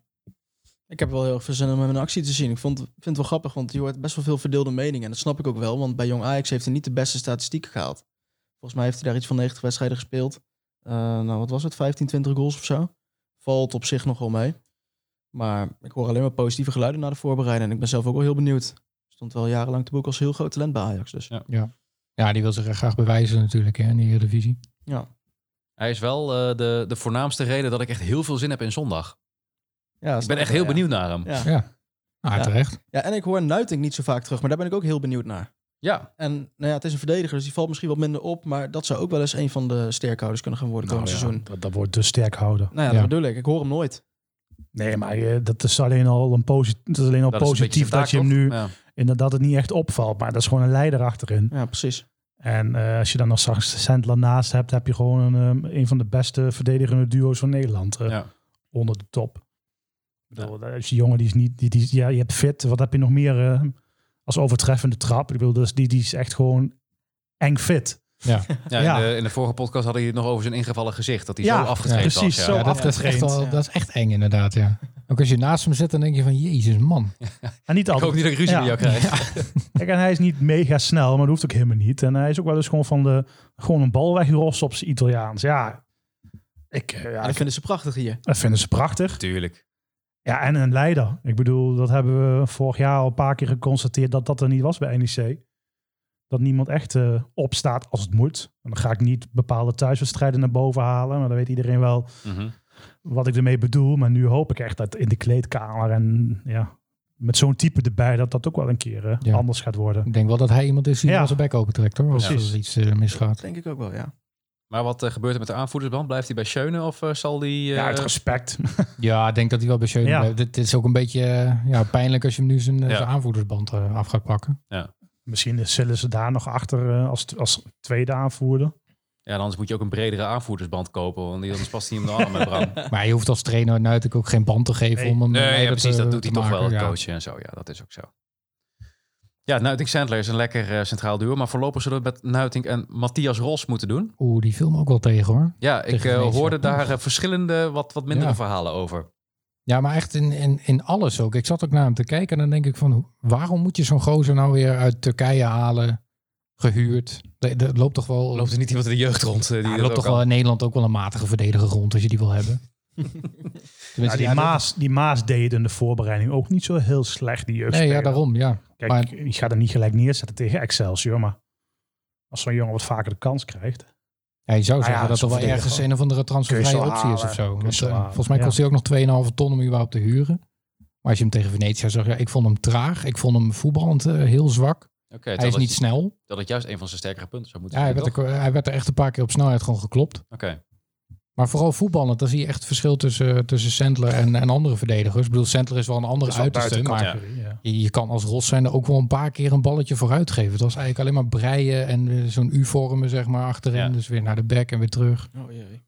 Ik heb wel heel erg veel zin om hem in actie te zien. Ik vond, vind het wel grappig, want je hoort best wel veel verdeelde meningen. En dat snap ik ook wel, want bij Jong Ajax heeft hij niet de beste statistieken gehaald. Volgens mij heeft hij daar iets van 90 wedstrijden gespeeld. Eh, nou, wat was het? 15, 20 goals of zo? Valt op zich nogal mee. Maar ik hoor alleen maar positieve geluiden na de voorbereiding. En ik ben zelf ook wel heel benieuwd. Stond wel jarenlang te boek als heel groot talent bij Ajax. Dus Ja. Ja, die wil zich echt graag bewijzen natuurlijk hè, in de Eredivisie. Hij is wel eh, de, de voornaamste reden dat ik echt heel veel zin heb in zondag. ja, Ik ben echt heel ja. benieuwd naar hem. Ja. Ja, ah, Ja. terecht. ja, en ik hoor Nuitink niet zo vaak terug, maar daar ben ik ook heel benieuwd naar. Ja, En nou ja, het is een verdediger, dus die valt misschien wat minder op. Maar dat zou ook wel eens een van de sterkhouders kunnen gaan worden komend Nou ja, seizoen. Dat, dat wordt de sterk houden. Nou ja, Ja. dat bedoel ik. Ik hoor hem nooit. Nee, maar eh, dat is alleen al, een posi- dat is alleen al dat is een beetje positief zijn dat taak, je hem toch? nu Ja. inderdaad het niet echt opvalt. Maar dat is gewoon een leider achterin. Ja, precies. En eh, als je dan nog straks Sandler naast hebt, heb je gewoon een, eh, een van de beste verdedigende duo's van Nederland eh, Ja. onder de top. Ik bedoel, dat is die jongen die is niet, die, die, is- ja, je hebt fit. Wat heb je nog meer eh, als overtreffende trap? Ik bedoel, dus die, die is echt gewoon eng fit. Ja, Ja. In, de, in de vorige podcast hadden jullie het nog over zijn ingevallen gezicht. Dat hij Ja, zo afgetraind was. precies, ja. zo. Ja, Ja, dat, dat, is echt afgetraind, wel- ja. dat is echt eng inderdaad, ja. Ook als je naast hem zit, dan denk je van, jezus man. En (laughs) niet Ik hoop altijd. niet dat ik ruzie Ja. met jou krijg. Kijk, en hij is niet mega snel, maar dat hoeft ook helemaal niet. En hij is ook wel eens gewoon van de gewoon een bal weggerost op zijn Italiaans. Ja, ik, eh, ja En dat ik, vinden ze prachtig hier. dat vinden ze prachtig. (laughs) Tuurlijk. Ja, en een leider. Ik bedoel, dat hebben we vorig jaar al een paar keer geconstateerd dat dat er niet was bij NEC. Dat niemand echt eh, opstaat als het moet. En dan ga ik niet bepaalde thuiswedstrijden naar boven halen, maar dan weet iedereen wel Mhm. wat ik ermee bedoel. Maar nu hoop ik echt dat in de kleedkamer en ja, met zo'n type erbij, dat dat ook wel een keer eh, Ja. anders gaat worden. Ik denk wel dat hij iemand is die Ja. wel zijn bek open trekt, hoor. Als Precies. er iets eh, Dat misgaat. denk ik ook wel, ja. Maar wat eh, gebeurt er met de aanvoerdersband? Blijft hij bij Schöne of eh, zal die... eh, ja, uit respect. Ja, ik denk dat hij wel bij Schöne Ja. blijft. Dit is ook een beetje eh, ja, pijnlijk als je hem nu zijn, eh, Ja. zijn aanvoerdersband eh, af gaat pakken. Misschien zullen ze daar nog achter eh, als, als tweede aanvoerder. ja, anders moet je ook een bredere aanvoerdersband kopen. Want anders past hij hem de arm met Bram. Maar je hoeft als trainer natuurlijk ook geen band te geven Nee. om hem Nee, eh, ja, te- precies. Dat doet te hij toch maken, wel, het ja. coachen en zo. Ja, dat is ook zo. Ja, Nuitink Sandler is een lekker eh, centraal duo. Maar voorlopig zullen we het met Nuitink en Matthias Ros moeten doen. Oeh, die viel me ook wel tegen, hoor. Ja, ik Tegen eh, Venetië. hoorde daar eh, verschillende, wat, wat mindere Ja. verhalen over. Ja, maar echt in, in, in alles ook. Ik zat ook naar hem te kijken en dan denk ik van... hoe- waarom moet je zo'n gozer nou weer uit Turkije halen, gehuurd? Dat- Dat loopt toch wel... Loopt er dus niet iemand in de jeugd rond? eh, die Ja, dat er loopt ook toch wel kan? in Nederland ook wel een matige verdediger rond als je die wil (laughs) hebben. Ja, Tenminste, die, ja, dat- Maas, die Maas deed in de voorbereiding ook niet zo heel slecht, die jeugd. Nee, ja, daarom, ja. Kijk, Maar- ik- ik ga er niet gelijk neerzetten tegen Excelsior, maar als zo'n jongen wat vaker de kans krijgt. ja. Je zou Ah, ja, zeggen dat er zo'n wel verdediger. ergens een of andere transfervrije Kun je optie zo is of halen, zo. kun je Want, zo eh, halen, volgens mij ja. kost hij ook nog 2,5 ton om überhaupt te huren. Maar als je hem tegen Venetia zag, ja, ik vond hem traag. Ik vond hem voetballend eh, heel zwak. Oké, Hij is terwijl niet dat- snel. Dat het juist een van zijn sterkere punten zou Ja, moeten hij, zijn. werd toch? er, hij werd er echt een paar keer op snelheid gewoon geklopt. Oké. Maar vooral voetballend, dan zie je echt het verschil tussen, eh, tussen Sentler en, en andere verdedigers. Ik bedoel, Sentler is wel een andere Dat is wel uiterste, buiten maar categorie, ja. Je, je kan als Ros zijn er ook wel een paar keer een balletje vooruit geven. Het was eigenlijk alleen maar breien en eh, zo'n U-vormen, zeg maar, achterin. Ja. Dus weer naar de back en weer terug. Oh jee. Hij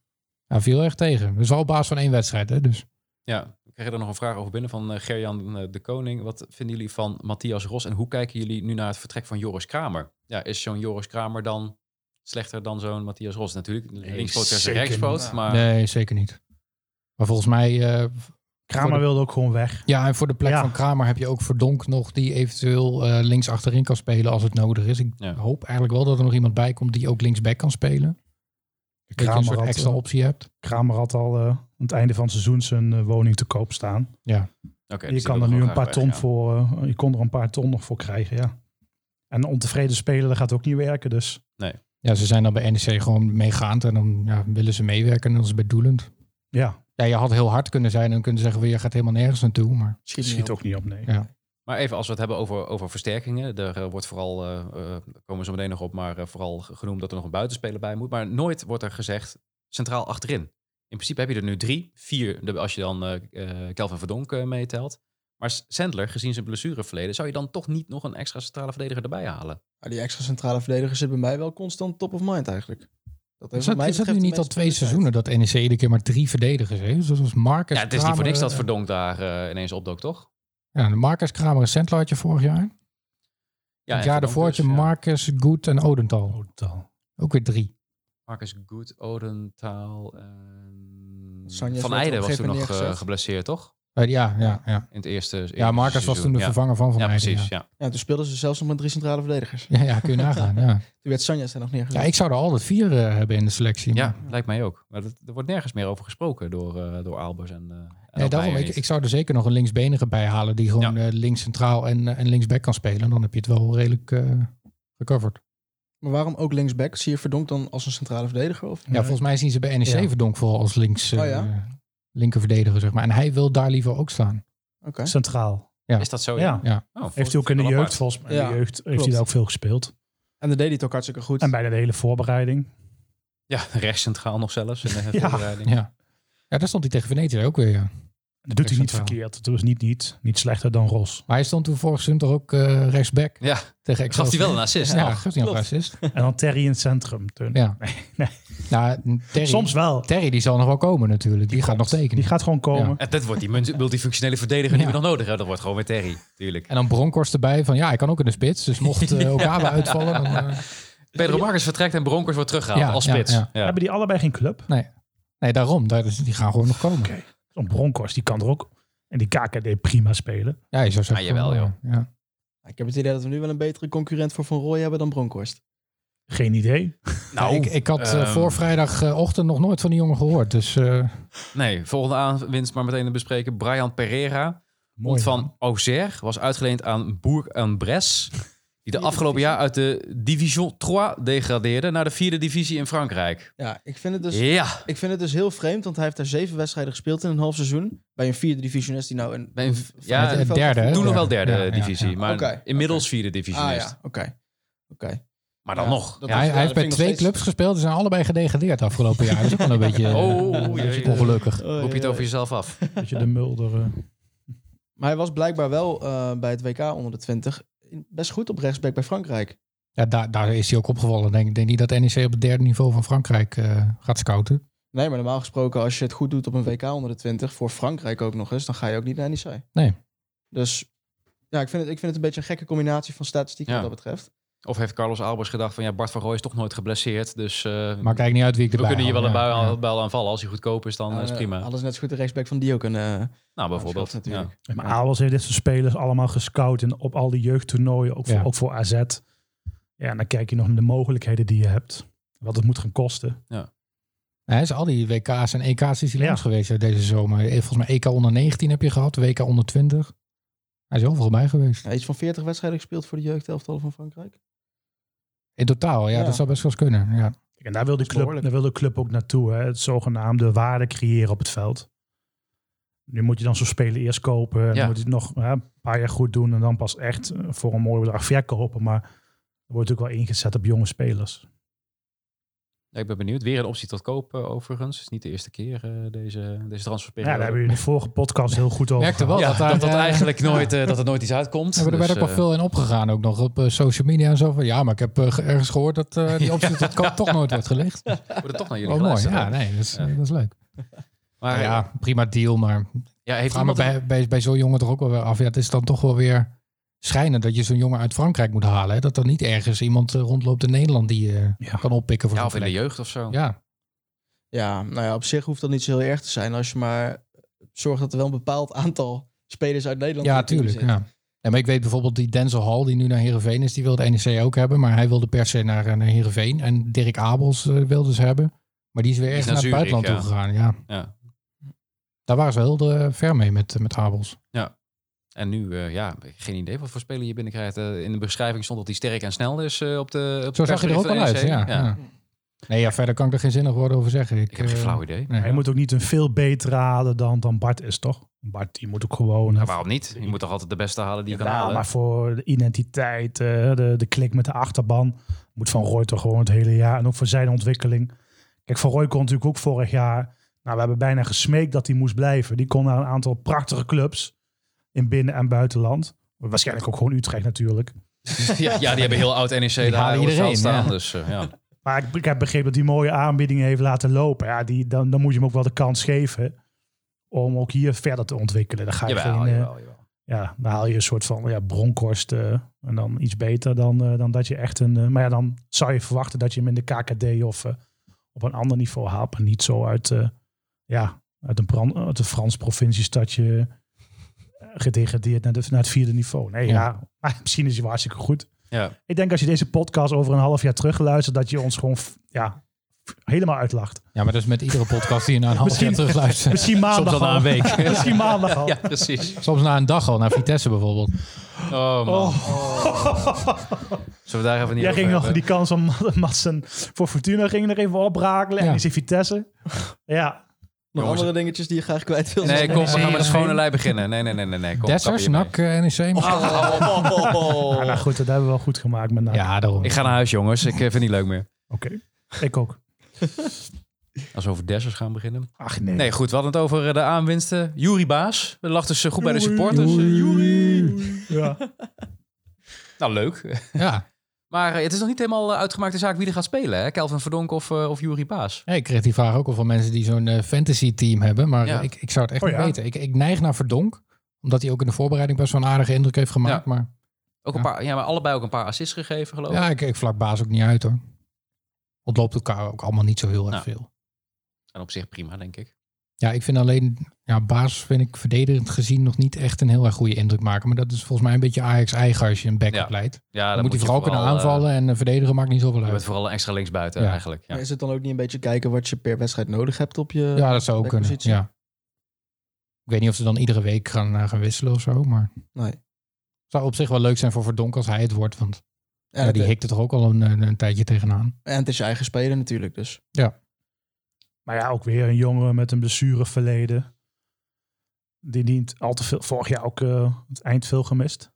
Nou, viel echt tegen. Dus wel op basis van één wedstrijd, hè. Dus Ja, ik kreeg er nog een vraag over binnen van eh, Gerjan eh, de Koning. Wat vinden jullie van Matthias Ros en hoe kijken jullie nu naar het vertrek van Joris Kramer? Ja, is zo'n Joris Kramer dan slechter dan zo'n Matthias Ros? Natuurlijk, linkspoot versus zeker rechtspoot, niet. maar nee, zeker niet. Maar volgens mij, eh, Kramer Voor de- wilde ook gewoon weg. ja, en voor de plek Ja. van Kramer heb je ook Verdonk nog, die eventueel eh, links achterin kan spelen als het nodig is. Ik Ja. hoop eigenlijk wel dat er nog iemand bij komt die ook linksback kan spelen. Dat je een Kramer soort had, extra eh, optie hebt. Kramer had al eh, aan het einde van het seizoen zijn eh, woning te koop staan. oké, je dus die kan wil er nu gewoon een paar graag ton weg, ja. voor, eh, je kon er een paar ton nog voor krijgen, ja. En een ontevreden speler, dat gaat ook niet werken, dus. Ja, ze zijn dan bij NEC gewoon meegaand en dan ja, willen ze meewerken en dat is bedoelend. Ja, Ja, je had heel hard kunnen zijn en kunnen zeggen, well, je gaat helemaal nergens naartoe. Maar het Schiet, niet schiet op. ook niet op, nee. Ja. Maar even als we het hebben over, over versterkingen. Er eh, wordt vooral, eh, eh, daar komen we zo meteen nog op, maar eh, vooral ge- genoemd dat er nog een buitenspeler bij moet. Maar nooit wordt er gezegd centraal achterin. In principe heb je er nu drie, vier, de- als je dan eh eh, Kelvin Verdonk eh, meetelt. Maar S- Sandler, gezien zijn blessureverleden, zou je dan toch niet nog een extra centrale verdediger erbij halen? Maar die extra centrale verdediger zit bij mij wel constant top of mind eigenlijk. Dat heeft is dat, wat mij is dat nu betreft de niet al meeste twee seizoenen dat NEC iedere keer maar drie verdedigers heeft? Dus dat was Marcus Ja, het is niet voor Kramer, niks dat eh, Verdonk daar eh, ineens opdook, toch? Ja, de Marcus Kramer en Sentler had je vorig jaar. Ja, het en jaar Verdonk daarvoor had je dus, ja. Marcus, Goed en Odental. Oh, dan. Ook weer drie. Marcus Good, Odentaal en... Sanjes werd op Van een Eijden was gegeven toen nog moment eh, neergezet. geblesseerd, toch? Eh, ja, ja, ja. In het eerste ja, Marcus was toen de ja. vervanger van Van Ja, Heijden, precies, ja. Ja, toen speelden ze zelfs nog met drie centrale verdedigers. Ja. Ja, kun je nagaan. (laughs) Ja. Toen werd Sanja er nog neergezet. ja, ik zou er altijd vier eh, hebben in de selectie. maar- Ja, lijkt mij ook. Maar dat, er wordt nergens meer over gesproken door, eh, door Albers en, eh, en Nee, Almeijer daarom, ik, niet. ik zou er zeker nog een linksbenige bij halen die gewoon eh, links centraal en, eh, en linksback kan spelen. Dan heb je het wel redelijk eh gecoverd. Maar waarom ook linksback? Zie je Verdonk dan als een centrale verdediger? Of? Ja, volgens mij zien ze bij NEC Ja. Verdonk vooral als links, eh Oh ja? linkerverdediger, zeg maar. En hij wil daar liever ook staan. Oké. Centraal. Ja. Is dat zo? Ja. Ja. Oh, Heeft hij ook in de jeugd, volgens mij, in Ja, de jeugd heeft klopt. hij daar ook veel gespeeld. En dan deed hij het ook hartstikke goed. En bijna de hele voorbereiding. Ja, (laughs) rechtscentraal nog zelfs in de Ja. voorbereiding. Ja. ja, daar stond hij tegen Venetië ook weer. Ja. Dat doet hij niet Centraal. verkeerd. Het was niet, niet, niet slechter dan (laughs) Ros. Maar hij stond toen vorig seizoen toch ook eh, rechtsback Ja, tegen gaf hij wel een assist. Ja, toch? gaf hij een assist. en dan Terry in het centrum. Toen. Ja. nee. Nou, Terry, Soms wel. Die, Terry die zal nog wel komen natuurlijk. Die, gaat nog tekenen. gaat gewoon komen. En dat wordt die mun- multifunctionele verdediger die Ja. we nog nodig hebben. Dat wordt gewoon weer Terry, tuurlijk. En dan Bronkhorst erbij van ja, hij kan ook in de spits. Dus mocht eh Okaba uitvallen, dan... eh, Pedro Marcus vertrekt en Bronkers wordt teruggehaald Ja, als ja, spits. ja. Ja. Hebben die allebei geen club? nee, daarom. Daar, dus die gaan gewoon nog komen. Oké. Zo'n Bronkhorst, die kan er ook. En die KKD prima spelen. Ja, je zou Ah, zeggen... jawel, van, joh. ja. Ja. Ik heb het idee dat we nu wel een betere concurrent voor Van Rooij hebben dan Bronkhorst. Geen idee. Nou, ik, ik had eh, ehm, voor vrijdagochtend nog nooit van die jongen gehoord. Dus eh, Nee, volgende aanwinst maar meteen te bespreken. Brian Pereira. Mooi. Komt van Auxerre. Was uitgeleend aan Bourg en Bres. Die de afgelopen jaar uit de Division 3 degradeerde naar de vierde divisie in Frankrijk. Ja, ik vind het dus, ja, ik vind het dus heel vreemd, want hij heeft daar zeven wedstrijden gespeeld in een half seizoen. Bij een vierde divisionist die nou een... Bij een- v- ja, vanuit het- het veld- derde. hè? toen nog wel Ja, derde ja, ja, divisie. ja. Maar Oké, inmiddels vierde divisie. Ah is. ja, oké. oké. Maar dan Ja, nog. dat Ja. Hij, Ja, hij heeft dat bij vind ik nog twee steeds- clubs gespeeld. Ze zijn allebei gedegradeerd afgelopen jaar. Dat is ook wel een beetje eh, Oh, een beetje jee. ongelukkig. Roep eh, je het over jezelf af. Dat je de Mulder... eh, Maar hij was blijkbaar wel eh, bij het WK onder de 20 best goed op rechtsback bij Frankrijk. Ja, daar, daar is hij ook opgevallen. Ik denk, ik denk niet dat NEC op het derde niveau van Frankrijk eh, gaat scouten. Nee, maar normaal gesproken, als je het goed doet op een WK onder de 20, voor Frankrijk ook nog eens, dan ga je ook niet naar NEC. Nee. Dus ja, ik vind het, ik vind het een beetje een gekke combinatie van statistiek Ja. wat dat betreft. Of heeft Carlos Albers gedacht van ja, Bart van Rooij is toch nooit geblesseerd. Dus eh, Maakt eigenlijk niet uit wie ik we erbij kunnen je wel haal. een Ja, bui ja. aan, bel aanvallen. Als hij goedkoop is, dan Ja, is eh, prima. Hadden ze net zo goed de rechtsback van Dio kunnen eh, nou, bijvoorbeeld. aanschaffen Ja. natuurlijk. Maar Ja. Abels heeft dit soort spelers allemaal gescout en op al die jeugdtoernooien, ook, Ja. voor, ook voor AZ. Ja, en dan kijk je nog naar de mogelijkheden die je hebt. Wat het moet gaan kosten. Hij is al die WK's en EK's is hij Ja. langs geweest hè, deze zomer. Eh, Volgens mij EK onder 19 heb je gehad, WK onder 20. Hij is overal bij geweest. Ja, iets van 40 wedstrijden gespeeld voor de jeugdelftal van Frankrijk. In totaal, ja, Ja. dat zou best wel eens kunnen. Ja. En daar wil de club, behoorlijk. daar wil de club ook naartoe. Hè? Het zogenaamde waarde creëren op het veld. Nu moet je dan zo'n speler eerst kopen. en Ja. Dan moet je het nog hè, een paar jaar goed doen. En dan pas echt eh, voor een mooi bedrag verkopen. Maar er wordt ook wel ingezet op jonge spelers. Ja, ik ben benieuwd. Weer een optie tot koop eh, overigens. Het is niet de eerste keer eh, deze, deze Ja, transferperiode. daar hebben we in de vorige podcast heel goed over Merkte wel Ja, dat daar, dat, dat eh, eigenlijk (laughs) nooit, eh, dat er nooit iets uitkomt. Ja, maar er Dus, werd ook wel eh, veel in opgegaan, ook nog op eh, social media en zo. Van, ja, maar ik heb eh, ge- ergens gehoord (laughs) dat eh, die optie tot koop toch nooit wordt gelegd. worden toch naar jullie Wel Oh, mooi, geluisterd. ja, hè? nee, dat is, Ja. dat is leuk. Maar ja, ja, prima deal, maar ja, heeft Vraag me iemand... een- bij, bij, bij zo'n jongen toch ook wel weer af. Ja, het is dan toch wel weer schrijnend dat je zo'n jongen uit Frankrijk moet halen. Hè? Dat er niet ergens iemand eh, rondloopt in Nederland die je Ja. kan oppikken voor Ja, zo'n of in de plek. jeugd of zo. Ja, Ja, nou ja, op zich hoeft dat niet zo heel erg te zijn. Als je maar zorgt dat er wel een bepaald aantal spelers uit Nederland... ja in de team tuurlijk. zit. Ja. Ja, maar ik weet bijvoorbeeld die Denzel Hall, die nu naar Heerenveen is, die wilde NEC E ook hebben. Maar hij wilde per se naar, eh, naar Heerenveen. En Dirk Abels eh, wilde ze hebben. Maar die is weer Die echt is naar, naar het Zurich, buitenland toe gegaan. Ja. Ja. Daar waren ze wel heel eh, ver mee met, met Abels. En nu, eh, ja, geen idee wat voor speler je binnenkrijgt. Eh, in de beschrijving stond dat hij sterk en snel is eh, op de op Zo de zag je er ook persbericht al van E uit. NEC. Ja, ja. Nee, ja, verder kan ik er geen zinnig woord over zeggen. Ik, Ik heb geen eh, flauw idee. nee. Hij moet ook niet een veel betere halen dan, dan Bart is, toch? Bart, die moet ook gewoon... Ja, waarom niet? Je moet toch altijd de beste halen die je kan Jawel, halen? maar voor de identiteit, eh, de, de klik met de achterban, moet Van Rooij toch gewoon het hele jaar. En ook voor zijn ontwikkeling. Kijk, Van Rooij kon natuurlijk ook vorig jaar... Nou, we hebben bijna gesmeekt dat hij moest blijven. Die kon naar een aantal prachtige clubs in binnen- en buitenland. Waarschijnlijk ook gewoon Utrecht natuurlijk. ja, (laughs) ja, die hebben heel oud NEC daar halen op het veld iedereen, staan. ja. Dus, eh, ja. Maar ik, ik heb begrepen dat hij mooie aanbiedingen heeft laten lopen. Ja, die, dan, dan moet je hem ook wel de kans geven om ook hier verder te ontwikkelen. Dan ga je Jawel, geen, eh, jawel, jawel. ja, dan haal je een soort van ja, bronkhorst eh, en dan iets beter dan, eh, dan dat je echt een... eh, maar ja, dan zou je verwachten dat je hem in de KKD of eh, op een ander niveau haalt. Maar niet zo uit, eh, ja, uit een, brand, uit een Frans provinciestadje eh, gedegradeerd naar, de, naar het vierde niveau. Nee, Ja. ja. maar (laughs) misschien is hij wel hartstikke goed. Ja. Ik denk als je deze podcast over een half jaar terugluistert, dat je ons gewoon f- ja, f- helemaal uitlacht. Ja, maar dat is met iedere podcast die je na een half jaar Misschien- terugluistert. Misschien maandag Soms al na al. (laughs) een week. Misschien maandag Oh. al. ja, precies. (laughs) Soms na een dag al, naar Vitesse bijvoorbeeld. Oh, man. Zullen we daar even niet Jij over ging nog hebben? die kans om Madsen voor Fortuna ging er even oprakelen. Ja. En die zit Vitesse. Ja, Nog Jongens, andere dingetjes die je graag kwijt wil. Nee, kom, we gaan met de Zeker. schone lei beginnen. Nee, nee, nee, nee. nee. Kom, kap E Dessers, hiermee. NAC, eh, NEC. Oh, oh, oh, oh, oh. Ah, Ja, nou goed, dat hebben we wel goed gemaakt met Naak. Ja, daarom. Ik ga naar huis, jongens. Ik eh, vind het niet leuk meer. Oké, ik ook. Als we over Dessers gaan beginnen. Ach Nee, goed. We hadden het over eh, de aanwinsten. Jury Baas. Dat lag dus eh, goed bij de Joeri. supporters. Joeri. Jury. Ja. Nou, leuk. (laughs) Ja. Maar eh, het is nog niet helemaal eh, uitgemaakte zaak wie er gaat spelen. Hè? Kelvin Verdonk of, eh, of Jury Baas. Ja, ik kreeg die vraag ook al van mensen die zo'n eh, fantasy team hebben. Maar Ja. ik, ik zou het echt Oh, niet ja. weten. Ik, ik neig naar Verdonk. Omdat hij ook in de voorbereiding best wel een aardige indruk heeft gemaakt. Maar Ook een Ja. paar, ja, maar allebei ook een paar assists gegeven, geloof ik. ja, ik, ik vlak baas ook niet uit hoor. Ontloopt elkaar ook allemaal niet zo heel erg Nou. veel. En op zich prima, denk ik. Ja, ik vind alleen, ja, baas vind ik verdedigend gezien nog niet echt een heel erg goede indruk maken. Maar dat is volgens mij een beetje Ajax eigen als je een backup Ja. leidt. Ja, Dan, moet hij vooral kunnen aanvallen en eh, verdedigen maakt niet zoveel je bent uit. vooral een extra linksbuiten Ja. eigenlijk. Ja. Maar Is het dan ook niet een beetje kijken wat je per wedstrijd nodig hebt op je... Ja, dat zou ook kunnen. backpositie. Ja. Ik weet niet of ze dan iedere week gaan, eh, gaan wisselen of zo. Maar Nee. het zou op zich wel leuk zijn voor Verdonk als hij het wordt. Want En, ja, het, die hikte toch ook al een, eh, een, een tijdje tegenaan. en het is je eigen speler natuurlijk, dus... Maar ja, ook weer een jongen met een blessureverleden. Die niet al te veel, vorig jaar ook eh, het eind veel gemist.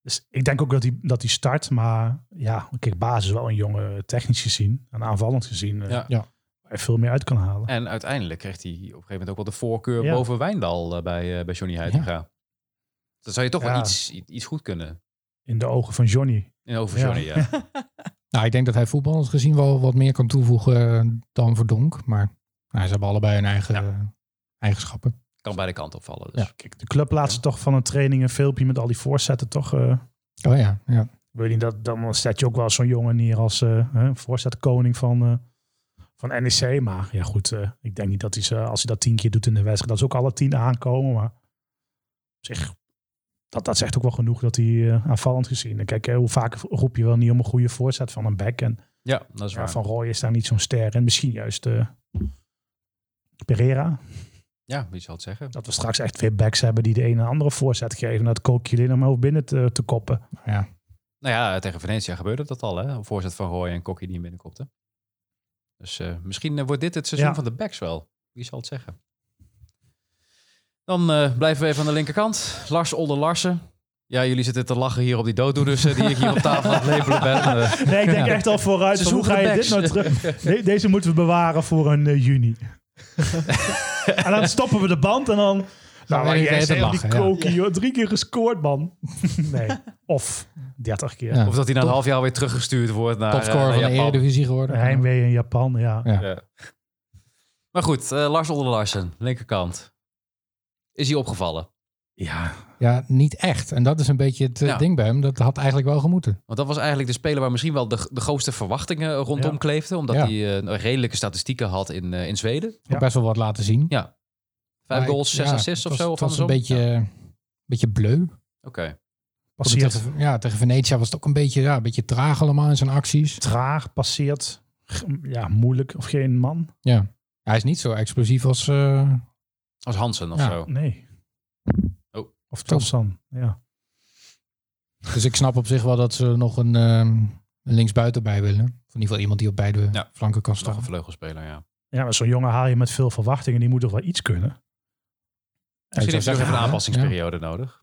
Dus ik denk ook dat hij dat die start, maar ja, kijk, Baas is wel een jongen technisch gezien en aanvallend gezien. eh, Ja. Ja. Waar je veel meer uit kan halen. En uiteindelijk kreeg hij op een gegeven moment ook wel de voorkeur Ja. boven Wijndal eh, bij, eh, bij Johnny Heitinga. Dan zou je toch wel Ja. iets, i- iets goed kunnen. In de ogen van Johnny. In over Ja. Johnny, (laughs) ja. Nou, ik denk dat hij voetballend gezien wel wat meer kan toevoegen eh, dan Verdonk. Maar nou, ze hebben allebei hun eigen eh, eigenschappen. Kan beide kanten opvallen. Dus. Ja. Kijk, de club laat ze toch van een training een filmpje met al die voorzetten toch. eh, Oh ja, ja. Ik weet niet, dat, dan zet je ook wel zo'n jongen neer als eh, hè, voorzetkoning van, eh, van NEC. Maar ja, goed, eh, ik denk niet dat hij ze, als hij dat tien keer doet in de wedstrijd, dat ze ook alle tien aankomen. Maar op zich, dat, dat zegt ook wel genoeg dat hij eh, aanvallend gezien. En Kijk, eh, hoe vaak roep je wel niet om een goede voorzet van een back. En Ja, dat is ja, waar. Van Roy is daar niet zo'n ster. En misschien juist eh, Pereira. Ja, wie zal het zeggen? Dat we straks echt weer backs hebben die de een en andere voorzet geven. En dat kookje alleen nog maar hoeft binnen te, te koppen. Nou ja, tegen Venetia gebeurde dat al, hè? Een Voorzet van Roy en Kokkie die hem binnenkopte. Dus eh, misschien eh, wordt dit het seizoen Ja. van de backs wel. Wie zal het zeggen? Dan eh, blijven we even aan de linkerkant. Lars Older Larsen. Ja, jullie zitten te lachen hier op die dooddoeners eh, die ik hier op tafel aan het lepelen ben. (laughs) Eh, Nee, ik denk Ja. echt al vooruit. Ze van, hoe zoeken ga de je backs. dit nou terug? De- deze moeten we bewaren voor een eh, (laughs) juni. en dan stoppen we de band en dan... Nou, ben maar je jij weer te zegt die lachen, ja. kokie, joh. Drie keer gescoord, man. (laughs) nee. Of 30 keer. Ja. of dat hij na een half jaar weer teruggestuurd wordt naar, eh, Topscorer naar van de Japan. Eredivisie geworden. Heimwee in Japan, ja. Ja. Ja. Maar goed, eh, Lars Older Larsen, linkerkant. Is hij opgevallen? Ja. Ja, niet echt. En dat is een beetje het eh, Ja. ding bij hem. Dat had eigenlijk wel gemoeten. Want dat was eigenlijk de speler waar misschien wel de, de grootste verwachtingen rondom Ja. kleefden. Omdat Ja. hij eh, redelijke statistieken had in, eh, in Zweden. Ook Ja. Best wel wat laten zien. Vijf Maar ik- goals, zes ja, assists of het was- zo. Of Het was een andersom? beetje, een beetje bleu. Oké. Passeert Tegen, ja, tegen Venetia was het ook een beetje, ja, een beetje traag allemaal in zijn acties. traag, passeert g- ja, moeilijk of geen man. Hij is niet zo explosief als... eh, Als Hansen of Ja. zo. Nee. Oh. Of Tossan, ja. dus ik snap op zich wel dat ze er nog een, ehm, een linksbuiten bij willen. Of in ieder geval iemand die op beide Ja. flanken kan Nog staan. een vleugelspeler, ja. Ja, maar zo'n jongen haal je met veel verwachtingen. Die moet toch wel iets kunnen? Misschien heeft zou hij nog zeggen, even een ja, aanpassingsperiode nodig.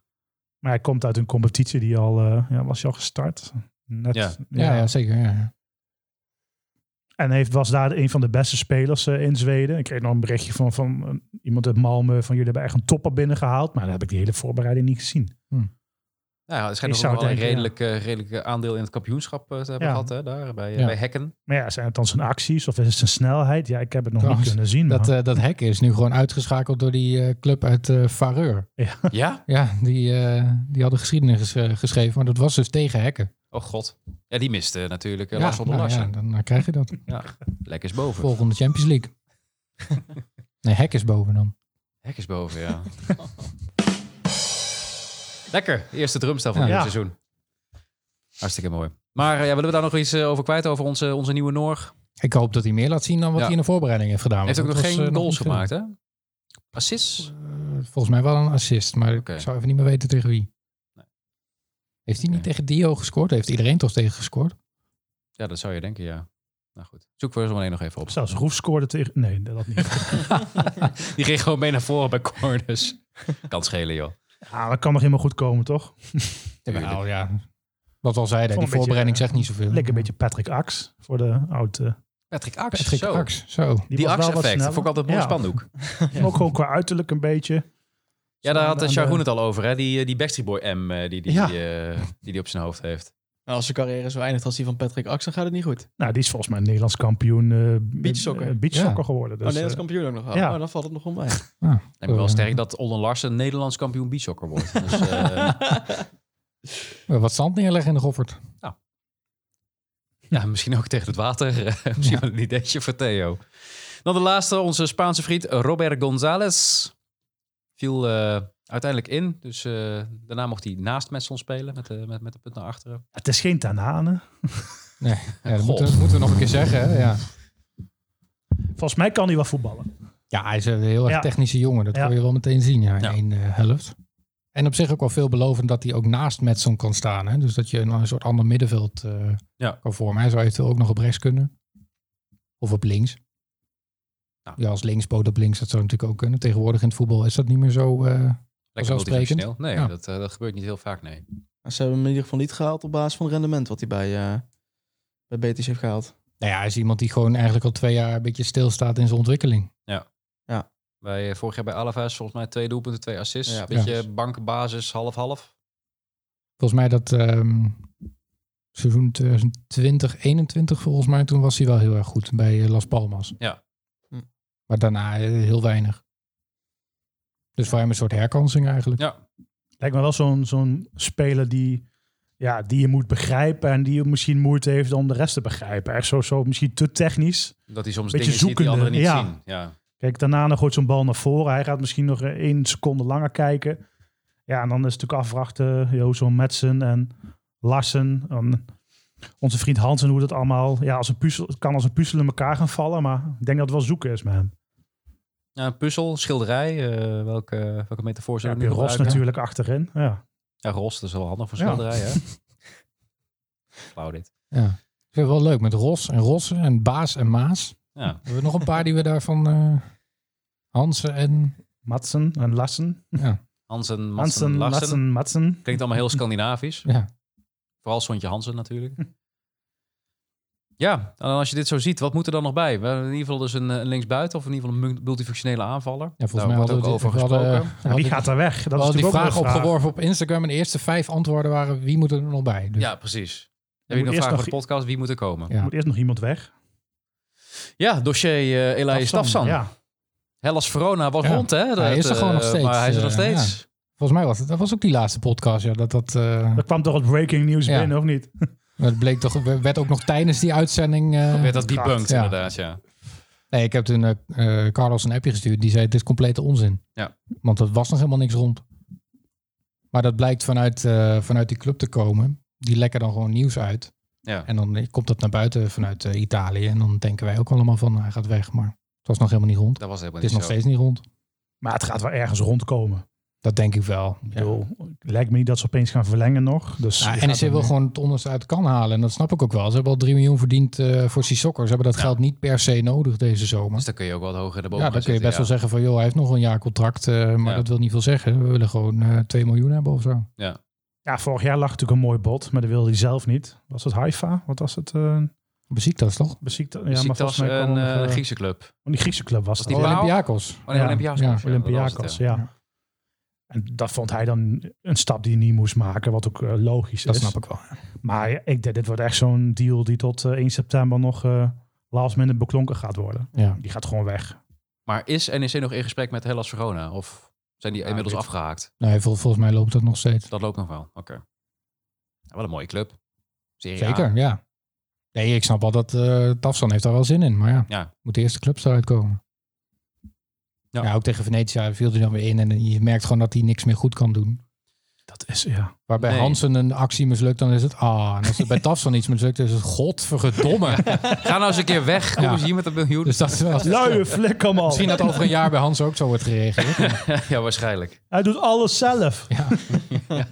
Maar hij komt uit een competitie die al, eh, ja, was hij al gestart. Net, Ja. Nou. Ja, ja, zeker. Ja. ja. En heeft, was daar een van de beste spelers eh, in Zweden. Ik kreeg nog een berichtje van, van eh, iemand uit Malmö. Van jullie hebben echt een topper binnengehaald. Maar dan heb ik die hele voorbereiding niet gezien. Nou, ja, het schijnt Ik ook zou nog wel een denken, redelijk, eh, redelijk aandeel in het kampioenschap eh, te hebben Ja. gehad. Hè, daar, bij, eh, Ja. bij (laughs) Hekken. Maar ja, zijn het dan zijn acties of is het zijn snelheid? Ja, ik heb het nog Trouwens, niet kunnen zien. Dat, maar- eh, dat hek is nu gewoon uitgeschakeld door die eh, club uit eh Vareur. ja? Ja, die, eh, die hadden geschiedenis eh, geschreven, maar dat was dus tegen hekken. Oh god. Ja, die miste natuurlijk eh, ja, Lars van der nou ja, Larsen. dan, dan krijg je dat. Lekker is boven. Volgende Champions League. (laughs) nee, hek is boven dan. Hek is boven, ja. Lekker. Eerste drumstel van Ja. dit Ja. seizoen. Hartstikke mooi. Maar eh, ja, willen we daar nog iets eh, over kwijt? Over onze, onze nieuwe Noor? Ik hoop dat hij meer laat zien dan wat Ja. hij in de voorbereiding heeft gedaan. Heeft ook want nog dat was, geen eh, goals niet gemaakt, hè? Assists? veel. Volgens mij wel een assist, maar Oké. ik zou even niet meer weten tegen wie. Nee. Heeft hij Oké. niet tegen Dio gescoord? Heeft iedereen toch tegen gescoord? Ja, dat zou je denken, ja. Nou goed, zoek voor zo meteen nog even op. Zelfs Roef scoorde tegen... Nee, dat niet. (laughs) Die ging gewoon mee naar voren bij corners. kan schelen, joh. ja, Ah, dat kan nog helemaal goed komen, toch? Nou ja, wat we al zeiden, Vond die een beetje, voorbereiding eh, zegt niet zoveel. Lekker een beetje Patrick Ax voor de oud... eh, Patrick Ax. Patrick zo. Aks, zo. die Die was wel wat Ax-effect. sneller. Vond ik altijd een mooi Ja. spandoek. Ook gewoon qua uiterlijk een beetje. Ja, daar had Aan eh, de- Sharon het al over, hè? Die, eh, die Backstreet Boy M eh, die die, Ja. eh, die die op zijn hoofd heeft. Nou, als zijn carrière zo eindigt als die van Patrick Axel, gaat het niet goed. Nou, die is volgens mij Nederlands kampioen eh Beachsoccer. eh, beachsoccer geworden. oh, Dus, Nederlands eh, kampioen ook nog. Oh, ja. oh, dan valt het nog (laughs) om bij. En wel Eh, sterk dat Olden Larsen Nederlands kampioen beachsoccer wordt. Dus, eh, eh, Wat zand neerleggen in de (laughs) Goffert. ja, misschien ook tegen het water. (laughs) Eh, misschien wel een ideetje voor Theo. Dan de laatste, onze Spaanse vriend Robert González. Viel eh, uiteindelijk in. Dus eh, daarna mocht hij naast Metson spelen met, de met, met de punt naar achteren. het is geen Tanane. Ja, dat Goh. moeten, we- moeten we nog een keer zeggen. Hè? Ja. Volgens mij kan hij wel voetballen. ja, hij is een heel erg Ja. technische jongen. Dat Ja. kun je wel meteen zien ja, in Ja. één eh, helft. En op zich ook wel veelbelovend dat hij ook naast Metson kan staan. Hè? Dus dat je een, een soort ander middenveld eh, Ja. kan vormen. Hij zou eventueel ook nog op rechts kunnen. Of op links. Nou. Ja, als linkspoot op links, dat zou natuurlijk ook kunnen. Tegenwoordig in het voetbal is dat niet meer zo... eh, Lekker Vanzelfsprekend. multifunctioneel. Nee, Ja. dat, eh, dat gebeurt niet heel vaak, nee. Maar Nou, Ze hebben hem in ieder geval niet gehaald op basis van het rendement wat hij bij, eh, bij Betis heeft gehaald. Nou ja, hij is iemand die gewoon eigenlijk al twee jaar een beetje stilstaat in zijn ontwikkeling. Bij, eh, vorig jaar bij Alavés volgens mij twee doelpunten, twee assists. Ja, Beetje precies. bankbasis, half-half. Volgens mij dat ehm, seizoen 2020, 21 volgens mij, toen was hij wel heel erg goed bij eh, Las Palmas. Ja. Hm. Maar daarna eh, heel weinig. Dus voor hem een soort herkansing eigenlijk. Ja, Lijkt me wel zo'n zo'n speler die, ja, die je moet begrijpen. En die misschien moeite heeft om de rest te begrijpen. Echt zo, zo misschien te technisch. dat hij soms Beetje dingen ziet die zoekende, anderen niet ja. zien. Ja. Kijk, daarna gooit zo'n bal naar voren. Hij gaat misschien nog eh, één seconde langer kijken. Ja, en dan is het natuurlijk afwachten. Jo, zo'n Madsen en Larsen. En onze vriend Hansen, hoe dat allemaal... Ja, als een puzzel, het kan als een puzzel in elkaar gaan vallen. Maar ik denk dat het wel zoeken is met hem. Ja, een puzzel, schilderij. eh, welke, welke metafoor Ja, zou heb je je nu Ros gebruiken? natuurlijk achterin. Ja. Ja, Ros, dat is wel handig voor Ja. schilderij, (laughs) hè? Flauw dit. Ja. Ik vind het wel leuk met Ros en Rossen en Baas en Maas. Ja. We hebben nog een paar die we daarvan... eh Hansen en... Madsen en Lassen. Hansen, Madsen, Larsen. Hansen, Lassen, Madsen. Klinkt allemaal heel Scandinavisch. Ja. Vooral Sontje Hansen (laughs) natuurlijk. Ja, en dan als je dit zo ziet, wat moet er dan nog bij? We hebben in ieder geval dus een, eh, een linksbuiten of in ieder geval een multifunctionele aanvaller. Ja, volgens Daar mij wordt hadden ook we over dit- we hadden- eh, gesproken. we Ja, wie hadden- gaat daar weg? Dat we hadden is die natuurlijk ook nog vraag een vraag. opgeworven op Instagram en de eerste vijf antwoorden waren wie moet er nog bij. Dus, Ja, precies. Heb je moet nog eerst vragen nog- voor de podcast? Wie moet er komen? Ja. Ja, Er moet eerst nog iemand weg. dossier eh Elaje Stafsan. Ja. Hellas Verona was Ja. rond, hè? Hij is er eh, gewoon nog steeds, Maar hij is er nog eh, ja. steeds. Volgens mij was het, dat was ook die laatste podcast. Ja, dat, dat, eh, Dat kwam toch het breaking nieuws Ja. binnen, of niet? Het bleek toch, werd ook nog tijdens die uitzending. eh, Oh, Werd dat kracht, debunked, ja. inderdaad, ja. Nee, ik heb toen eh, eh, Carlos een appje gestuurd. Die zei: Dit is complete onzin. Ja. Want er was nog helemaal niks rond. Maar dat blijkt vanuit, eh, vanuit die club te komen. Die lekken dan gewoon nieuws uit. Ja. En dan eh, komt dat naar buiten vanuit eh, Italië. En dan denken wij ook allemaal van: "Nou, Hij gaat weg. Maar het was nog helemaal niet rond. Dat was helemaal Het is niet nog zo. steeds niet rond. Maar het gaat wel ergens rondkomen. Dat denk ik wel. Ik bedoel, het lijkt me niet dat ze opeens gaan verlengen nog. Dus Ja, je NEC gaat dan- wil gewoon het onderste uit de kan halen. En dat snap ik ook wel. Ze hebben al 3 miljoen verdiend eh, voor Sissoko. Ze hebben dat Ja. geld niet per se nodig deze zomer. Dus dan kun je ook wat hoger naar boven Ja, dan gaan kun je best wel zitten, zeggen van... joh, hij heeft nog een jaar contract, eh, maar Ja. dat wil niet veel zeggen. We willen gewoon eh 2 miljoen hebben of zo. Ja, vorig jaar lag natuurlijk een mooi bot, maar dat wilde hij zelf niet. Was het Haifa? Wat was het? eh Beziektas toch? beziekte? ja. Ja, maar Besiktas, volgens mij kwam een nog, eh, eh, Griekse club. oh, die Griekse club was Was het. die Oh, Paal? Olympiakos. Oh, nee, Ja. Olympiakos. Ja, Ja, dat was het, eh? Olympiakos, ja. Ja. En dat vond hij dan een stap die hij niet moest maken, wat ook eh, logisch Dat dus- is. snap ik wel. Maar ja, ik denk, dit wordt echt zo'n deal die tot eh, 1 september nog eh last minute beklonken gaat worden. Ja. Die gaat gewoon weg. Maar is NEC nog in gesprek met Hellas Verona? Of zijn die inmiddels weet- afgehaakt? Nee, vol- volgens mij loopt dat nog steeds. Dat loopt nog wel. Oké. Ja, wel een mooie club. Serie A. Zeker, ja. Nee, ik snap wel dat eh Tafsan heeft daar wel zin in. Maar ja, Ja. moet de eerste clubs eruit komen. Ja. Ja. ook tegen Venetia viel hij dan weer in. En je merkt gewoon dat hij niks meer goed kan doen. Dat is, ja. Waarbij Nee. Hansen een actie mislukt, dan is het ah. En (laughs) als het bij Tafsan iets mislukt, is het godverdomme. Ga nou eens een keer weg. Kom (laughs) Ja. eens hier met een (laughs) miljoen. Dus dat is wel... Luie flikker, man. Misschien dat over een jaar bij Hans ook zo wordt gereageerd. ja, waarschijnlijk. Hij doet alles zelf. Ja. (laughs)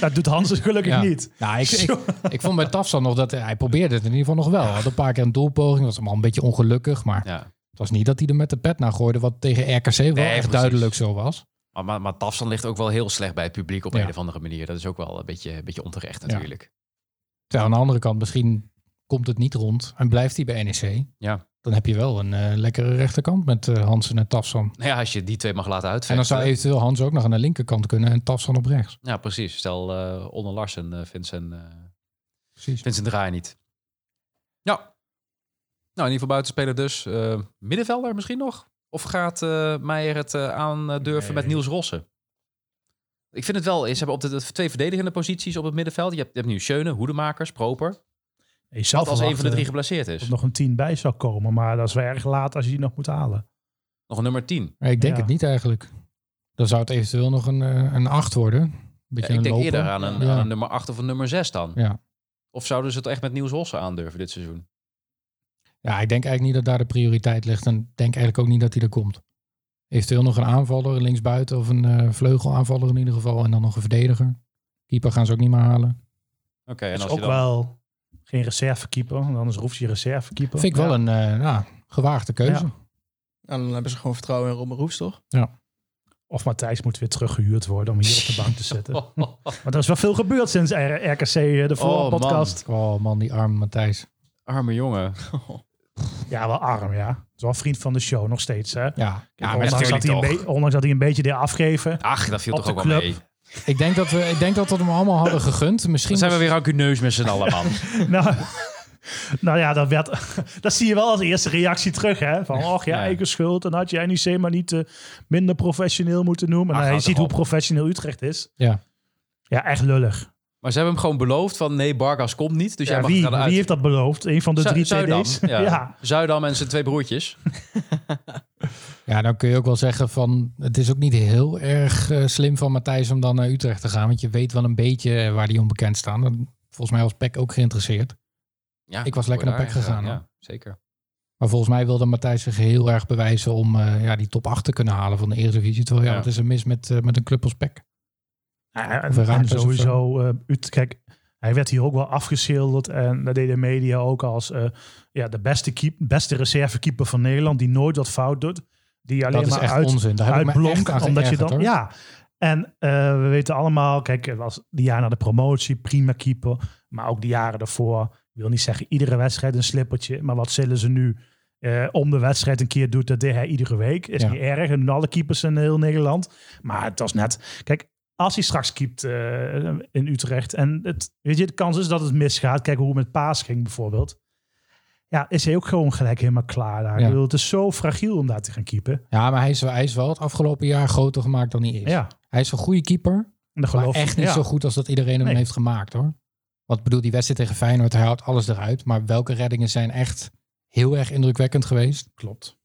Dat doet Hansen gelukkig Ja. niet. (laughs) Nou, ik, ik, Zo. ik vond bij Tafsan nog dat hij, hij probeerde het in ieder geval nog wel. Hij had een paar keer een doelpoging. Was allemaal een beetje ongelukkig. Maar Ja. het was niet dat hij er met de pet naar gooide. Wat tegen RKC wel echt precies. duidelijk zo was. Maar, maar, maar Tafsan ligt ook wel heel slecht bij het publiek op Ja. een of andere manier. Dat is ook wel een beetje, een beetje onterecht Ja. natuurlijk. Terwijl aan de andere kant misschien komt het niet rond. En blijft hij bij NEC. Ja. Dan heb je wel een eh, lekkere rechterkant met eh, Hansen en Tafsan. Nou ja, als je die twee mag laten En dan uitvechten. zou eventueel Hans ook nog aan de linkerkant kunnen en Tafsan op rechts. Ja, precies. Stel, eh onder Larsen eh, vindt zijn, eh, Precies. vindt zijn draai niet. Ja. Nou, in ieder geval buitenspeler dus. Eh, middenvelder misschien nog? Of gaat eh Meijer het eh, aan aandurven met Nee. Niels Rossen? Ik vind het wel, ze hebben op de, de twee verdedigende posities op het middenveld. Je hebt, je hebt nu Schöne, Hoedemakers, Proper. Je zou Dat als een van de drie verwachten geblesseerd is. dat er nog een tien bij zou komen. Maar dat is wel erg laat als je die nog moet halen. Nog een nummer 10. Maar ik denk Ja. het niet eigenlijk. Dan zou het eventueel nog een, eh, een acht worden. Beetje Ja, ik een denk loper. eerder aan een, Ja. aan een nummer 8 of een nummer 6 dan. Ja. Of zouden ze het echt met Niels Hossen aandurven dit seizoen? Ja, ik denk eigenlijk niet dat daar de prioriteit ligt. En ik denk eigenlijk ook niet dat hij er komt. Eventueel nog een aanvaller, een linksbuiten of een eh, vleugelaanvaller in ieder geval. En dan nog een verdediger. Keeper gaan ze ook niet meer halen. Oké, Dat en is als je Dus ook dan... wel geen reservekeeper. want Anders hoeft je reservekeeper. Vind ik wel Ja. een eh, ja, gewaagde keuze. Ja. En dan hebben ze gewoon vertrouwen in Robben Roefs, toch? Of Matthijs moet weer teruggehuurd worden om hier op (laughs) de bank te zetten. Maar er is wel veel gebeurd sinds R- RKC eh, de vorige Oh, man. podcast. Oh man, die arme Matthijs. Arme jongen. Ja, wel arm, ja. Het is wel een vriend van de show nog steeds. Hè? Ja, Ja, maar ondanks, dat natuurlijk hij een toch. be- ondanks dat hij een beetje deed afgeven. Ach, dat viel Op toch de ook wel club. mee. ik denk dat we, ik denk dat we hem allemaal hadden gegund. Misschien Dan zijn we weer rancuneus met z'n allen, (laughs) man. nou, nou ja, dat, werd, (laughs) dat zie je wel als eerste reactie terug. Hè? Van, och ja, Ja. eigen schuld. En had je NEC maar niet eh, minder professioneel moeten noemen. Ach, Nou, je houd ziet toch hoe op. professioneel Utrecht is. Ja. Ja, echt lullig. Maar ze hebben hem gewoon beloofd van nee, Barkas komt niet. Dus jij Ja, mag wie, het gaan uit. wie heeft dat beloofd? Een van de Zu- drie Zuidam, TD's? ja. (laughs) ja. Zuidam en zijn twee broertjes. Ja, dan kun je ook wel zeggen van het is ook niet heel erg eh, slim van Matthijs om dan naar Utrecht te gaan. Want je weet wel een beetje eh, waar die onbekend staan. En Volgens mij was Peck ook geïnteresseerd. Ja, Ik was lekker voor naar daar PEC gegaan, Ja, zeker. Maar volgens mij wilde Matthijs zich heel erg bewijzen om eh, ja, die top 8 te kunnen halen van de Eredivisie. Terwijl ja, Ja. wat is er mis met, eh, met een club als Peck? Ja, Of een en, en Ramses of Eh, sowieso, eh, Ut- kijk, hij werd hier ook wel afgeschilderd. En dat deden de media ook als eh, ja, de beste, keep, beste reservekeeper van Nederland. Die nooit wat fout doet. Die alleen dat is maar echt uit, onzin. Daar heb ik me echt aan uitblonk. Omdat je geërgerd, dan. hoor. Ja. En eh, we weten allemaal, kijk, het was die jaar na de promotie, prima keeper. Maar ook de jaren daarvoor. Ik wil niet zeggen iedere wedstrijd een slippertje. Maar wat zullen ze nu eh, om de wedstrijd een keer doet, dat deed hij iedere week. Is Ja. niet erg. En alle keepers in heel Nederland. Maar het was net. Kijk, als hij straks keept eh, in Utrecht. En het, weet je, de kans is dat het misgaat. Kijk hoe het met Paas ging bijvoorbeeld. Ja, is hij ook gewoon gelijk helemaal klaar daar. Ja. Ik bedoel, het is zo fragiel om daar te gaan keepen. Ja, maar hij is, wel- hij is wel het afgelopen jaar groter gemaakt dan hij is. Ja. Hij is een goede keeper, En dat maar geloof ik. echt niet Ja. zo goed als dat iedereen hem Nee. heeft gemaakt hoor. Want ik bedoel, die wedstrijd tegen Feyenoord, hij haalt alles eruit. Maar welke reddingen zijn echt heel erg indrukwekkend geweest? Klopt.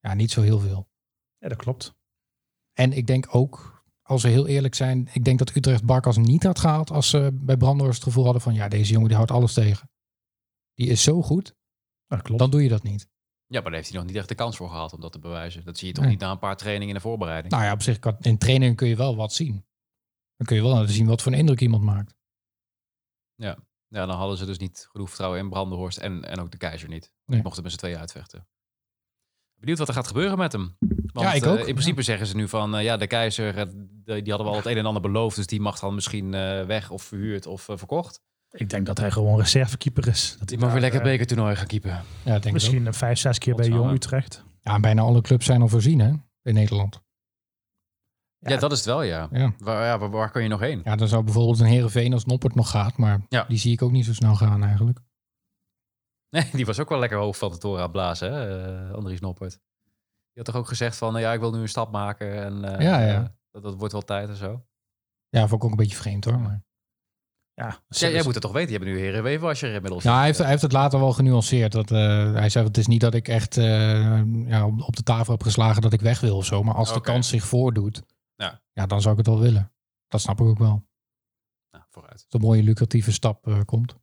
Ja, niet zo heel veel. Ja, dat klopt. En ik denk ook, als we heel eerlijk zijn, ik denk dat Utrecht Barkas niet had gehaald als ze bij Brandhorst het gevoel hadden van ja, deze jongen die houdt alles tegen. Die is zo goed, Dat klopt. dan doe je dat niet. Ja, maar daar heeft hij nog niet echt de kans voor gehad om dat te bewijzen. Dat zie je toch Nee. niet na een paar trainingen in de voorbereiding. Nou ja, op zich, kan, in training kun je wel wat zien. Dan kun je wel laten zien wat voor een indruk iemand maakt. Ja, dan hadden ze dus niet genoeg vertrouwen in Brandenhorst en, en ook de keizer niet. Want Nee. die Mochten met z'n tweeën uitvechten. Benieuwd wat er gaat gebeuren met hem. Want, Ja, ik eh, ook, in principe zeggen ze nu van, eh, ja, de keizer, eh, die die hadden we al het een en ander beloofd. Dus die mag dan misschien eh, weg of verhuurd of eh, verkocht. Ik denk dat hij gewoon reservekeeper is. Dat hij Die mag weer daar, lekker eh, bekertoernooi gaan keepen. Ja, ik denk het ook. Misschien een vijf, zes keer bij Godsamme. Jong Utrecht. Ja, bijna alle clubs zijn al voorzien hè, in Nederland. Ja, dat is het wel, ja. Ja. Waar, ja, waar, waar kun je nog heen? Ja, dan zou bijvoorbeeld een Herenveen als Noppert nog gaat, maar Ja. die zie ik ook niet zo snel gaan eigenlijk. Nee, die was ook wel lekker hoog van de toren aan het blazen, hè? eh, Andries Noppert. Die had toch ook gezegd van, nou ja, ik wil nu een stap maken. En eh, Ja, ja. eh, dat, dat wordt wel tijd en zo. Ja, vond ik ook een beetje vreemd hoor. Maar... Ja, Ja, jij moet het toch weten. Je hebt nu Herenweven als je er inmiddels... Nou, dus- hij zit, heeft, eh. hij heeft het later wel genuanceerd. Dat, eh, hij zei, het is niet dat ik echt eh, ja, op, op de tafel heb geslagen dat ik weg wil of zo. Maar als Oké. de kans zich voordoet, Ja. ja. dan zou ik het wel willen. Dat snap ik ook wel. Nou, vooruit. Dat een mooie lucratieve stap eh, komt.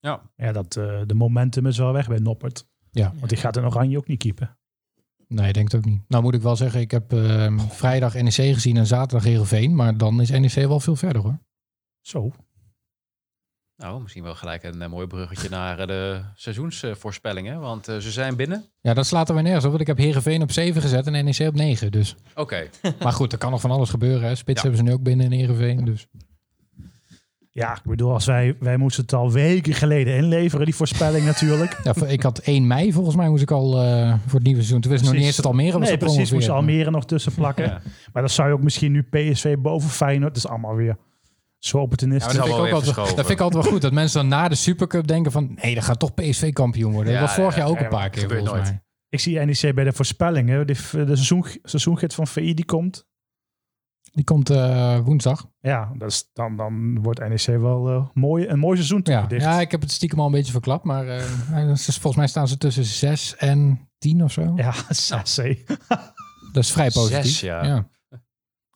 ja dat, eh, de momentum is wel weg bij Noppert. Ja. Want die gaat in Oranje ook niet keepen. Nee, ik denk het ook niet. Nou moet ik wel zeggen, ik heb ehm, vrijdag NEC gezien en zaterdag Heerenveen. Maar dan is NEC wel veel verder hoor. Zo. Nou, misschien wel gelijk een eh, mooi (laughs) bruggetje naar eh, de seizoensvoorspellingen. Want eh, ze zijn binnen. Ja, dat slaat er weer nergens op. Want ik heb Heerenveen op 7 gezet en NEC op 9. Dus. Oké. Maar goed, er kan nog van alles gebeuren. Hè. Spits Ja. hebben ze nu ook binnen in Heerenveen. Dus. Ja, ik bedoel, als wij, wij moesten het al weken geleden inleveren, die voorspelling (laughs) natuurlijk. Ja, voor- ik had 1 mei volgens mij moest ik al eh, voor het nieuwe seizoen. Toen wist ik nog Precies. niet eens dat Almere was Nee, precies, gepromoveerd. moest Almere nog tussen plakken. Ja. Maar dan zou je ook misschien nu PSV boven Feyenoord. Dat is allemaal weer zo Ja, opportunistisch. maar dat, is vind al ik wel ook weer altijd, dat verschoven. vind ik altijd wel goed. Dat mensen dan na de Supercup denken van... Nee, dan gaat toch PSV kampioen worden. Ja, dat was vorig ja, jaar ook ja, een paar keer gebeurt volgens nooit. mij. Ik zie NEC bij de voorspellingen. De, de seizoen, seizoengids van VI die komt. Die komt eh, woensdag. Ja, dat is, dan, dan wordt NEC wel eh, mooi, een mooi seizoen Ja. toegedicht. ja, ik heb het stiekem al een beetje verklapt. Maar eh, (laughs) eh, ze- volgens mij staan ze tussen 6 en 10 of zo. Ja, (laughs) sassé. Dat is vrij positief. Zes, ja. Ja.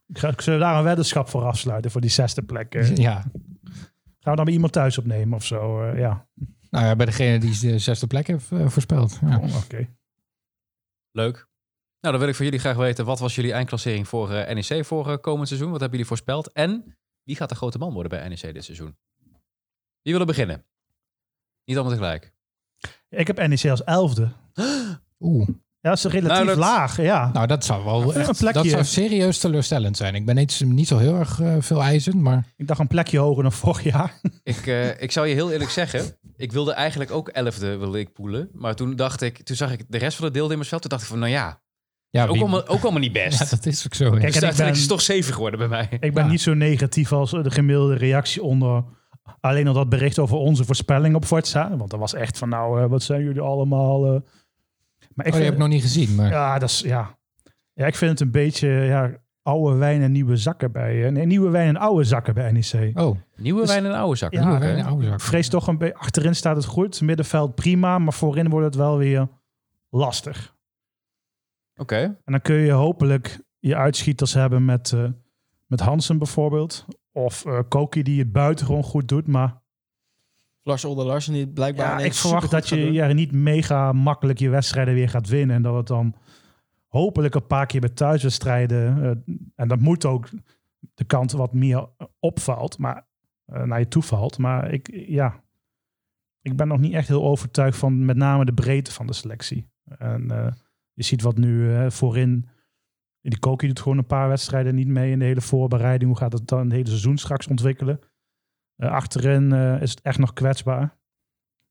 Ik ga- Zullen we daar een weddenschap voor afsluiten voor die zesde plek? eh? (laughs) Ja. Gaan we dan bij iemand thuis opnemen of zo? eh, ja, Nou ja, bij degene die de zesde plek heeft eh, voorspeld. Ja. Oh, oké. Leuk. Nou, dan wil ik van jullie graag weten, wat was jullie eindklassering voor eh, NEC voor eh, komend seizoen? Wat hebben jullie voorspeld? En wie gaat de grote man worden bij NEC dit seizoen? Wie wil er beginnen? Niet allemaal tegelijk. Ik heb NEC als elfde. Oeh. Ja, dat is relatief Nou, dat- laag. Ja. Nou, dat zou wel een echt- plekje. dat zou serieus teleurstellend zijn. Ik ben niet, niet zo heel erg eh, veel eisend, maar Ik dacht een plekje hoger dan vorig jaar. Ik, eh, ik zou je heel eerlijk zeggen, ik wilde eigenlijk ook elfde wilde ik poelen. Maar toen dacht ik, toen zag ik de rest van het deeldimmersveld. Toen dacht ik van, nou ja, ja, ook wie- allemaal, ook allemaal niet best. (laughs) ja, dat is ook zo. ja. Oh, Kijk, dus en ik uiteindelijk ben- is het toch zeven geworden bij mij. Ik ben Ja. niet zo negatief als de gemiddelde reactie onder. Alleen al dat bericht over onze voorspelling op Forza. Want dat was echt van, nou, eh, wat zijn jullie allemaal? eh. Maar ik oh, die heb vind, ik nog niet gezien, maar ja, dat is, ja. ja, ik vind het een beetje ja, oude wijn en nieuwe zakken bij. eh, Nee, nieuwe wijn en oude zakken bij NEC. oh, Nieuwe Dus- wijn en oude zak. Ja, nieuwe oké. wijn, oude zak. Ik vrees toch een beetje, achterin staat het goed. Middenveld prima, maar voorin wordt het wel weer lastig. Oké. En dan kun je hopelijk je uitschieters hebben met, eh, met Hansen bijvoorbeeld. Of eh, Koki die het buitengewoon goed doet. Maar Lars Olde Larsen die het blijkbaar ja, ineens ik verwacht supergoed dat gaat je doen. ja, niet mega makkelijk je wedstrijden weer gaat winnen. En dat het dan hopelijk een paar keer bij thuiswedstrijden... eh, en dat moet ook de kant wat meer opvalt. Maar eh, naar je toe valt. Maar ik, ja, ik ben nog niet echt heel overtuigd van met name de breedte van de selectie. En eh, je ziet wat nu eh, voorin... Die Koki doet gewoon een paar wedstrijden niet mee in de hele voorbereiding. Hoe gaat het dan het hele seizoen straks ontwikkelen? Eh, achterin eh, is het echt nog kwetsbaar.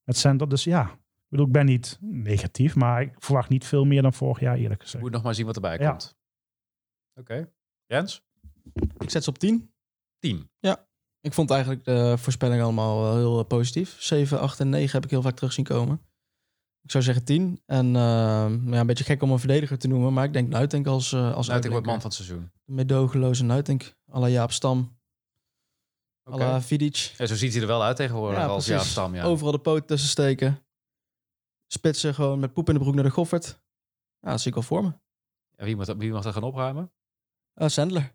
Het center, dus ja. Ik bedoel, ik ben niet negatief, maar ik verwacht niet veel meer dan vorig jaar eerlijk gezegd. Moet nog maar zien wat erbij Ja. komt. Oké. Jens? Ik zet ze op 10. Tien. Ik vond eigenlijk de voorspellingen allemaal wel heel eh, positief. 7, 8 en 9 heb ik heel vaak terug zien komen. Ik zou zeggen 10. En eh, ja, een beetje gek om een verdediger te noemen, maar ik denk Nuitink als, eh Sluit als ik uitblinker. wordt man van het seizoen. meedogenloze Nuitink. à la Jaap Stam, Oké. à la Vidic. Ja, zo ziet hij er wel uit tegenwoordig als precies. Jaap Stam. Ja. Overal de poot tussen steken. Spitsen gewoon met poep in de broek naar de Goffert. Ja, dat zie ik al voor me. En wie, mag dat, wie mag dat gaan opruimen? Eh Sandler.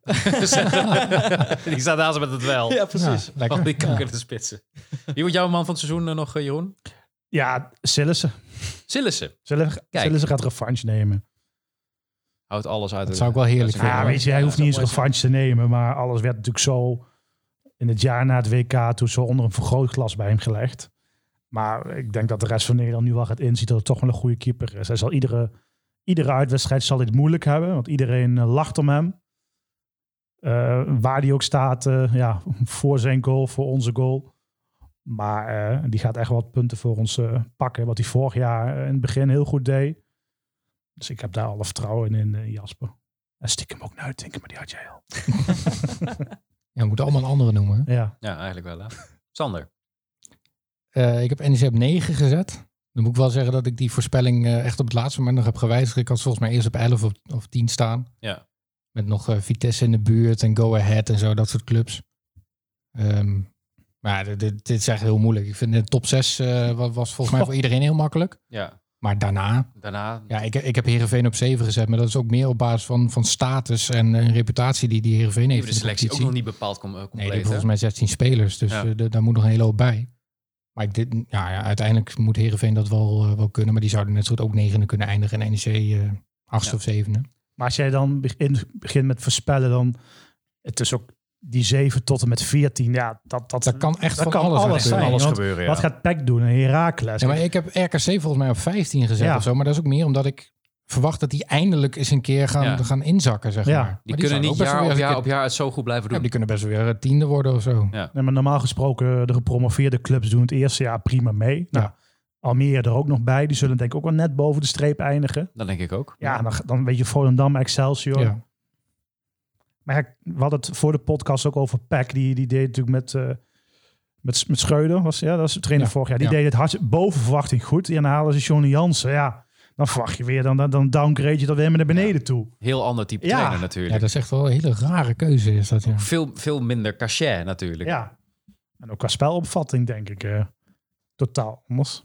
die staat naast met het wel. (laughs) ja, precies. Ja, lekker. Al Oh, die kanker Ja. te spitsen. Wie wordt jouw man van het seizoen eh, nog, eh, Jeroen? Ja, Sillissen. Sillissen. Sillissen Kijk. Sillissen gaat revanche nemen. Houdt alles uit. Dat de- zou ik wel heerlijk Ja, vinden. Ja, hoor. weet je, hij hoeft Ja, niet eens dat zou mooi revanche te nemen. Maar alles werd natuurlijk zo in het jaar na het WK toen zo onder een vergrootglas bij hem gelegd. Maar ik denk dat de rest van Nederland nu wel gaat inzien dat het toch wel een goede keeper is. Hij zal iedere, iedere uitwedstrijd zal dit moeilijk hebben, want iedereen eh, lacht om hem. Eh, waar die ook staat, eh, ja, (laughs) voor zijn goal, voor onze goal. Maar eh, die gaat echt wat punten voor ons eh, pakken. Wat hij vorig jaar eh, in het begin heel goed deed. Dus ik heb daar alle vertrouwen in, eh, Jasper. En stiekem ook Nuitink, maar die had jij al. (laughs) Ja, we moeten allemaal een andere noemen. hè. Ja. Ja, eigenlijk wel. Hè. Sander. Eh, ik heb NEC op 9 gezet. Dan moet ik wel zeggen dat ik die voorspelling eh, echt op het laatste moment nog heb gewijzigd. Ik had ze volgens mij eerst op 11 of, of 10 staan. Ja. Met nog eh, Vitesse in de buurt en Go Ahead en zo, dat soort clubs. Ehm, maar dit, dit, dit is echt heel moeilijk. Ik vind de top 6 was, volgens mij voor iedereen heel makkelijk. Ja, Maar daarna, daarna. ja, ik, ik heb Heerenveen op 7 gezet. Maar dat is ook meer op basis van, van status en, eh, reputatie die, die Heerenveen Die heeft. hebben in de selectie ook competitie. nog niet bepaald com- eh, Nee, compleet. die hè? hebben volgens mij 16 spelers. Dus Ja. eh, d- daar moet nog een hele hoop bij. Maar ik dit, ja, ja, uiteindelijk moet Herenveen dat wel, eh, wel kunnen. Maar die zouden net zo goed ook negende kunnen eindigen. En NEC eh, Achtste Ja. of zevende. Maar als jij dan begin- begint met voorspellen, dan het is ook die 7 tot en met 14. Ja, dat, dat, Dat kan echt dat van kan alles, alles zijn. zijn. Alles want gebeuren, ja. Wat gaat PEC doen? Een Herakles. Ja, maar ik heb RKC volgens mij op 15 gezet Ja. of zo. Maar dat is ook meer omdat ik verwacht dat die eindelijk eens een keer gaan, Ja. gaan inzakken, zeg Ja. maar. Maar Die, zouden kunnen ook niet best wel jaar op weer jaar eens een op keer- jaar het zo goed blijven Ja, doen. die kunnen best wel weer eh, tiende worden of zo. Nee, maar normaal gesproken, de gepromoveerde clubs doen het eerste jaar prima mee. Nou, Ja. Almere er ook nog bij. Die zullen denk ik ook wel net boven de streep eindigen. Dat denk ik ook. Ja, dan, dan weet je Volendam, Excelsior. Ja. Maar ja, we hadden het voor de podcast ook over Peck. Die, die deed natuurlijk met, eh met, met Schreuder. Was, ja, dat was de trainer Ja, vorig jaar. Die ja. deed het hard, boven verwachting goed. En dan halen ze Johnny Jansen. Ja, dan verwacht je weer. Dan, dan, dan downgrade je dat weer naar beneden toe. Heel ander type Ja. trainer ja, natuurlijk. dat is echt wel een hele rare keuze is dat, ja. veel, veel minder cachet natuurlijk. (laughs) Ja. En ook qua spelopvatting denk ik eh, totaal anders.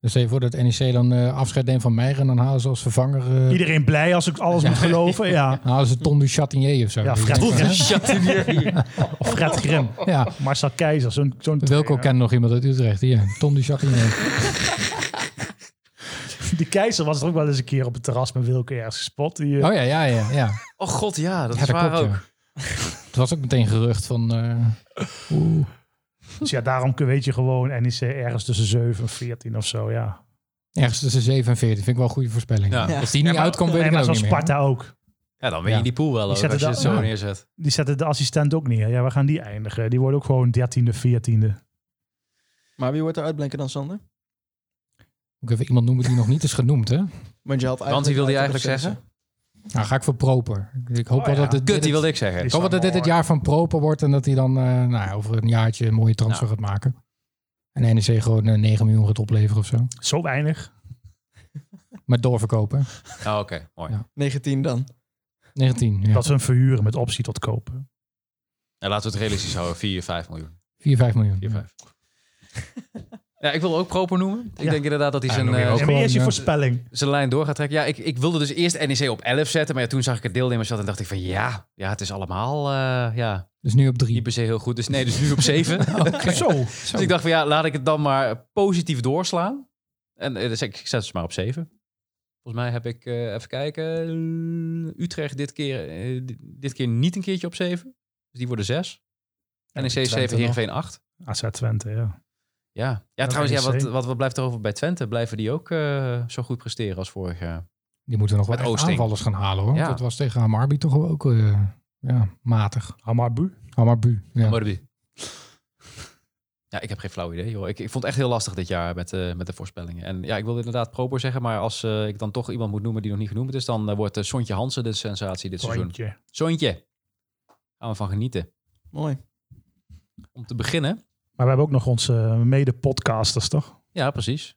Dus stel je voor dat NEC dan eh, afscheid neemt van Meijer en dan halen ze als vervanger... eh Iedereen blij als ik alles moet geloven. Ja. halen ze Tom du Chatinier of zo. Ja, Die Fred denkt van, hè? (laughs) Of Fred Grim. Ja, Marcel Keizer. Zo'n, zo'n Wilco trainer. kent nog iemand uit Utrecht. Hier, Tom du Chatinier. (laughs) Die Keizer was er ook wel eens een keer op het terras met Wilco ergens gespot. Die, eh, Oh ja, ja, ja. ja. Oh god, ja, dat ja, is waar ook. ja. Het was ook meteen gerucht van... eh, oeh, Dus ja, daarom kun- weet je gewoon NEC ergens tussen 7 en 14 of zo. Ja. ergens tussen 7 en 14. Vind ik wel een goede voorspelling. Ja. Als die niet uitkomt, weet En ik het maar ook zo'n niet meer. Sparta ook. Ja, dan win je Ja. die pool wel Die ook, als zetten je het dat- zo ja. neerzet. Die zetten de assistent ook neer. Ja, we gaan die eindigen. Die worden ook gewoon 13e, 14e. Maar wie wordt er uitblinken dan, Sander? Moet ik even iemand noemen die nog niet is genoemd, hè? Want je had eigenlijk... Want wie wilde je uit- eigenlijk zeggen? Nou, ga ik voor Proper. Ik hoop Oh, wel ja. dat dit, Kut, dit, die wilde ik zeggen. Die ik hoop wel dat dit het jaar van Proper wordt en dat hij dan eh, nou, ja, over een jaartje een mooie transfer gaat maken. En NEC gewoon eh, 9 miljoen gaat opleveren of zo. Zo weinig. Met doorverkopen. Oh, oké, mooi. Ja. 19 dan. 19, ja. Dat ze hem verhuren met optie tot kopen. En laten we het realistisch houden, 4, 5 miljoen. 4, 5 miljoen. 4, 5. Ja, ik wil ook Proper noemen. Ik Ja. denk inderdaad dat hij Ja, zijn, dan weer eh, ook. En wie is je gewoon, voorspelling? zijn lijn door gaat trekken. Ja, ik, ik wilde dus eerst NEC op 11 zetten. Maar ja, toen zag ik het deelnemersveld en dacht ik van ja, ja het is allemaal eh, ja, Dus nu op niet 3. per se heel goed. Dus nee, dus (laughs) nu op 7. Oh, Zo. Dus ik dacht van ja, laat ik het dan maar positief doorslaan. En eh, dus ik, ik zet ze maar op 7. Volgens mij heb ik, eh, even kijken, eh, Utrecht dit keer, eh, di- dit keer niet een keertje op 7. Dus die worden E 6. NEC Twente 7, nog. Heerenveen 8. AZ Twente, ja. Ja, ja En trouwens, ja, NEC. wat, wat, wat blijft er over bij Twente? Blijven die ook eh, zo goed presteren als vorig jaar? Die moeten nog wel Met echt Oosting. aanvallers gaan halen, hoor. Ja. Dat was tegen Hamarby toch wel ook eh, ja, matig. Hamarbu. Hamarby, ja. Maar die- Ja, ik heb geen flauw idee, joh. Ik, ik vond het echt heel lastig dit jaar met, eh, met de voorspellingen. En ja, ik wilde inderdaad proper zeggen, maar als eh, ik dan toch iemand moet noemen die nog niet genoemd is, dan eh, wordt eh, Sontje Hansen de sensatie dit seizoen. Rondje. Sontje, gaan we van genieten. Mooi. Om te beginnen, Maar we hebben ook nog onze eh, mede-podcasters, toch? ja, precies.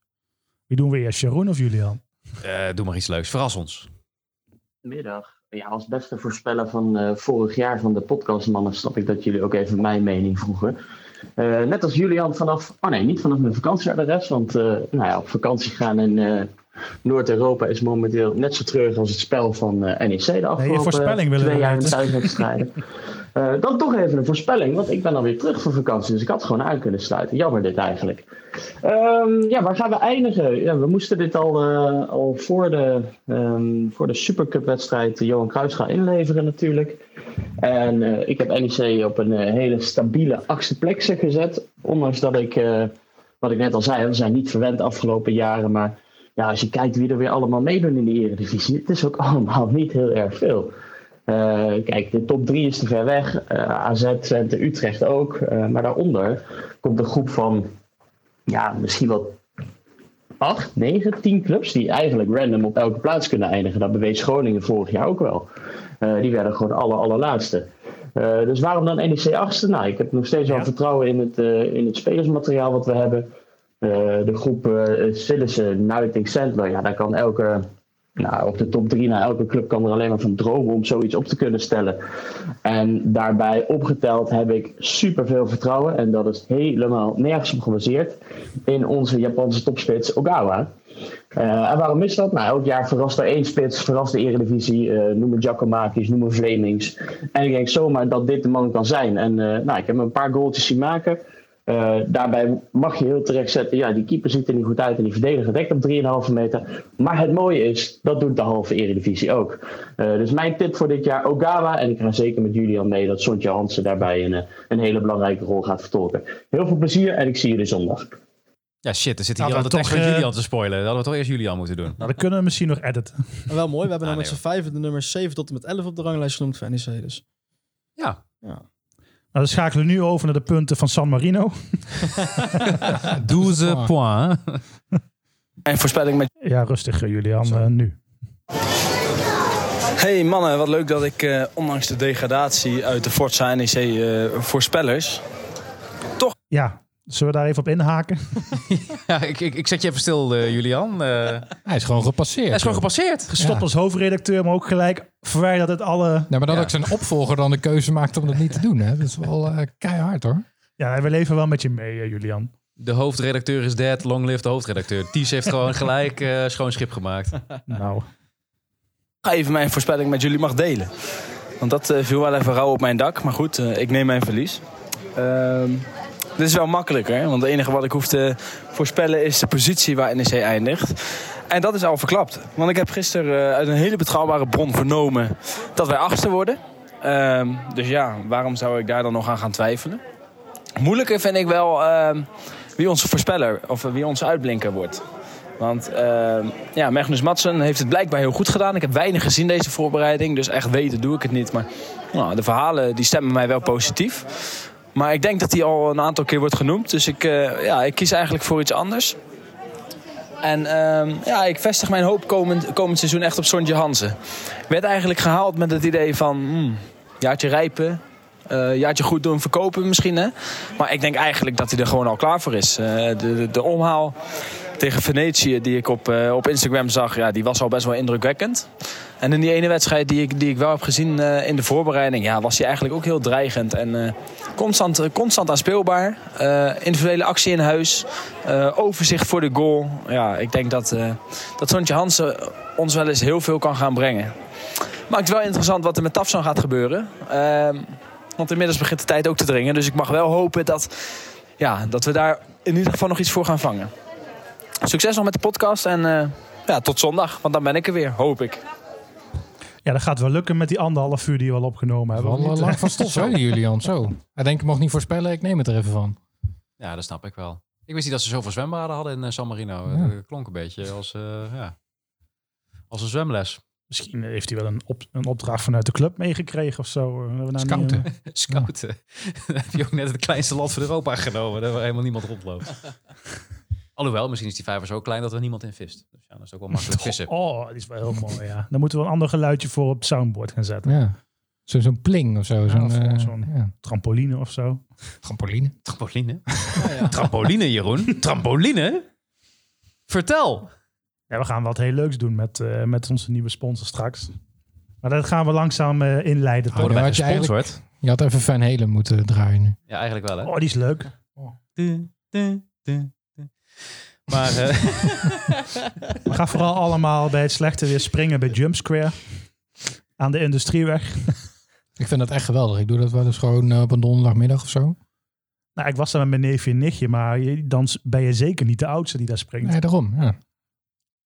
Wie doen we eerst? Jeroen of Julian? Eh, doe maar iets leuks, verras ons. Middag. Ja, als beste voorspeller van eh, vorig jaar van de podcastmannen snap ik dat jullie ook even mijn mening vroegen. Eh, net als Julian vanaf, oh nee, niet vanaf mijn vakantieadres, want eh, nou ja, op vakantie gaan in eh, Noord-Europa is momenteel net zo treurig als het spel van eh, NEC de afgelopen voorspelling willen twee we jaar in weten. (laughs) thuiswedstrijden. Eh, dan toch even een voorspelling, want ik ben alweer terug van vakantie, dus ik had gewoon aan kunnen sluiten. Jammer dit eigenlijk. Ehm, ja, waar gaan we eindigen? Ja, we moesten dit al, eh, al voor de, ehm, voor de Supercup-wedstrijd de Johan Cruijff gaan inleveren natuurlijk. En eh, ik heb NEC op een eh, hele stabiele achtste plek gezet. Ondanks dat ik, eh, wat ik net al zei, we zijn niet verwend de afgelopen jaren. Maar ja, als je kijkt wie er weer allemaal meedoen in de Eredivisie, het is ook (laughs) allemaal niet heel erg veel. Eh, kijk, de top 3 is te ver weg. Eh, AZ, Twente, Utrecht ook. Eh, maar daaronder komt een groep van ja, misschien wel acht, negen, tien clubs die eigenlijk random op elke plaats kunnen eindigen. Dat bewees Groningen vorig jaar ook wel. Eh, die werden gewoon alle allerlaatste. Eh, dus waarom dan NEC 8e? Nou, ik heb nog steeds wel Ja. vertrouwen in het, eh, in het spelersmateriaal wat we hebben. Eh, de groep eh Sillissen, Nuiting, Sandler. Ja, daar kan elke... Nou, op de top 3 naar elke club kan er alleen maar van dromen om zoiets op te kunnen stellen. En daarbij opgeteld heb ik superveel vertrouwen, en dat is helemaal nergens op gebaseerd, in onze Japanse topspits Ogawa. Eh, en waarom is dat? Nou, elk jaar verrast er één spits, verrast de Eredivisie, eh noem het Giacomakis, noem het Vlemings. En ik denk zomaar dat dit de man kan zijn. En eh, nou, ik heb hem een paar goaltjes zien maken. Eh, daarbij mag je heel terecht zetten, ja, die keeper ziet er niet goed uit en die verdediger dekt op 3,5 meter. Maar het mooie is, dat doet de halve Eredivisie ook. Eh, dus mijn tip voor dit jaar, Ogawa. En ik ga zeker met Julian mee dat Sontje Hansen daarbij een, eh, een hele belangrijke rol gaat vertolken. Heel veel plezier en ik zie jullie zondag. Ja, shit, er zit hier Hadden al de we tekst toch, van eh, Julian te spoilen. Dat hadden we toch eerst Julian moeten doen. Nou, dat kunnen we misschien nog editen. Maar wel mooi, we hebben Ah, nou met nee, z'n vijven de nummers 7 tot en met 11 op de ranglijst genoemd voor NEC. Dus Ja, Nou, dan schakelen we nu over naar de punten van San Marino. 12 points. Mijn voorspelling met... Ja, rustig eh, Julian, eh, nu. Hey mannen, wat leuk dat ik eh, ondanks de degradatie uit de Forza NEC eh, voorspellers... Ja, zullen we daar even op inhaken? Ja, ik, ik, ik zet je even stil, eh, Julian. Eh, hij Hij is gewoon gepasseerd. is gewoon gepasseerd. Gestopt als hoofdredacteur, maar ook gelijk verwijderd uit alle... Nee, maar dat Ja. ook zijn opvolger dan de keuze maakt om dat niet te doen. Hè? Dat is wel eh, keihard hoor. Ja, we leven wel met je mee, eh, Julian. De hoofdredacteur is dead. Long live de hoofdredacteur. Ties heeft (laughs) gewoon gelijk eh, schoon schip gemaakt. Nou, Ga even mijn voorspelling met jullie mag delen. Want dat eh, viel wel even rauw op mijn dak. Maar goed, eh, ik neem mijn verlies. Ehm, dit is wel makkelijker, hè, want het enige wat ik hoef te voorspellen is de positie waar NEC eindigt. En dat is al verklapt. Want ik heb gisteren eh, uit een hele betrouwbare bron vernomen dat wij achtste worden. Ehm, dus ja, waarom zou ik daar dan nog aan gaan twijfelen? Moeilijker vind ik wel ehm, wie onze voorspeller of wie onze uitblinker wordt. Want ehm, ja, Magnus Madsen heeft het blijkbaar heel goed gedaan. Ik heb weinig gezien deze voorbereiding. Dus echt weten doe ik het niet. Maar nou, de verhalen die stemmen mij wel positief. Maar ik denk dat hij al een aantal keer wordt genoemd. Dus ik, eh, ja, ik kies eigenlijk voor iets anders. En ehm, ja, ik vestig mijn hoop komend, komend seizoen echt op Sontje Hansen. Werd eigenlijk gehaald met het idee van... hmm, jaartje rijpen, eh, jaartje goed doen, verkopen misschien. Hè? Maar ik denk eigenlijk dat hij er gewoon al klaar voor is. Eh, de, de, de omhaal tegen Venetië, die ik op, eh, op Instagram zag, ja, die was al best wel indrukwekkend. En in die ene wedstrijd die ik, die ik wel heb gezien eh, in de voorbereiding, ja, was hij eigenlijk ook heel dreigend. En eh, constant, eh, constant aanspeelbaar. Eh, individuele actie in huis. eh, overzicht voor de goal. Ja, ik denk dat, eh dat Sontje Hansen ons wel eens heel veel kan gaan brengen. Maakt wel interessant wat er met Tafsan gaat gebeuren. Ehm, want inmiddels begint de tijd ook te dringen. Dus ik mag wel hopen dat, ja, dat we daar in ieder geval nog iets voor gaan vangen. Succes nog met de podcast en eh, ja, tot zondag, want dan ben ik er weer, hoop ik. ja, dat gaat wel lukken met die anderhalf uur die we al opgenomen hebben. Wel of eh, niet? lang van (laughs) stof, hè, Julian? Zo. Hij denkt, ik mag niet voorspellen, ik neem het er even van. Ja, dat snap ik wel. Ik wist niet dat ze zoveel zwembaden hadden in eh, San Marino. Ja. Dat klonk een beetje als, eh, ja, als een zwemles. Misschien heeft hij wel een, op, een opdracht vanuit de club meegekregen of zo. We hebben nou Scouten. niet, eh, Scouten. (laughs) Dan heb je ook net het kleinste land van Europa genomen. Daar waar helemaal niemand rondloopt. (laughs) Alhoewel, misschien is die vijver zo klein dat er niemand in vist. Dus ja, dat is ook wel makkelijk vissen. oh, die is wel heel mooi, ja. Dan moeten we een ander geluidje voor op het soundboard gaan zetten. Ja. Zo- Zo'n pling of zo. Zo'n of, eh, zo'n- ja. Trampoline of zo. trampoline. Trampoline? Trampoline, Jeroen? Trampoline? Vertel! Ja, we gaan wat heel leuks doen met, eh, met onze nieuwe sponsor straks. Maar dat gaan we langzaam eh, inleiden. Oh, Worden wij had je eigenlijk- gesponsord? Je had even Van Helen moeten draaien nu. Ja, eigenlijk wel, hè? Oh, die is leuk. Du, du, du, du. Maar eh, (laughs) We gaan vooral allemaal bij het slechte weer springen bij Jump Square. Aan de industrieweg. Ik vind dat echt geweldig. Ik doe dat wel eens gewoon eh, op een donderdagmiddag of zo. Nou, ik was daar met mijn neefje en nichtje, maar je, dan s- ben je zeker niet de oudste die daar springt. Nee, daarom. Ja.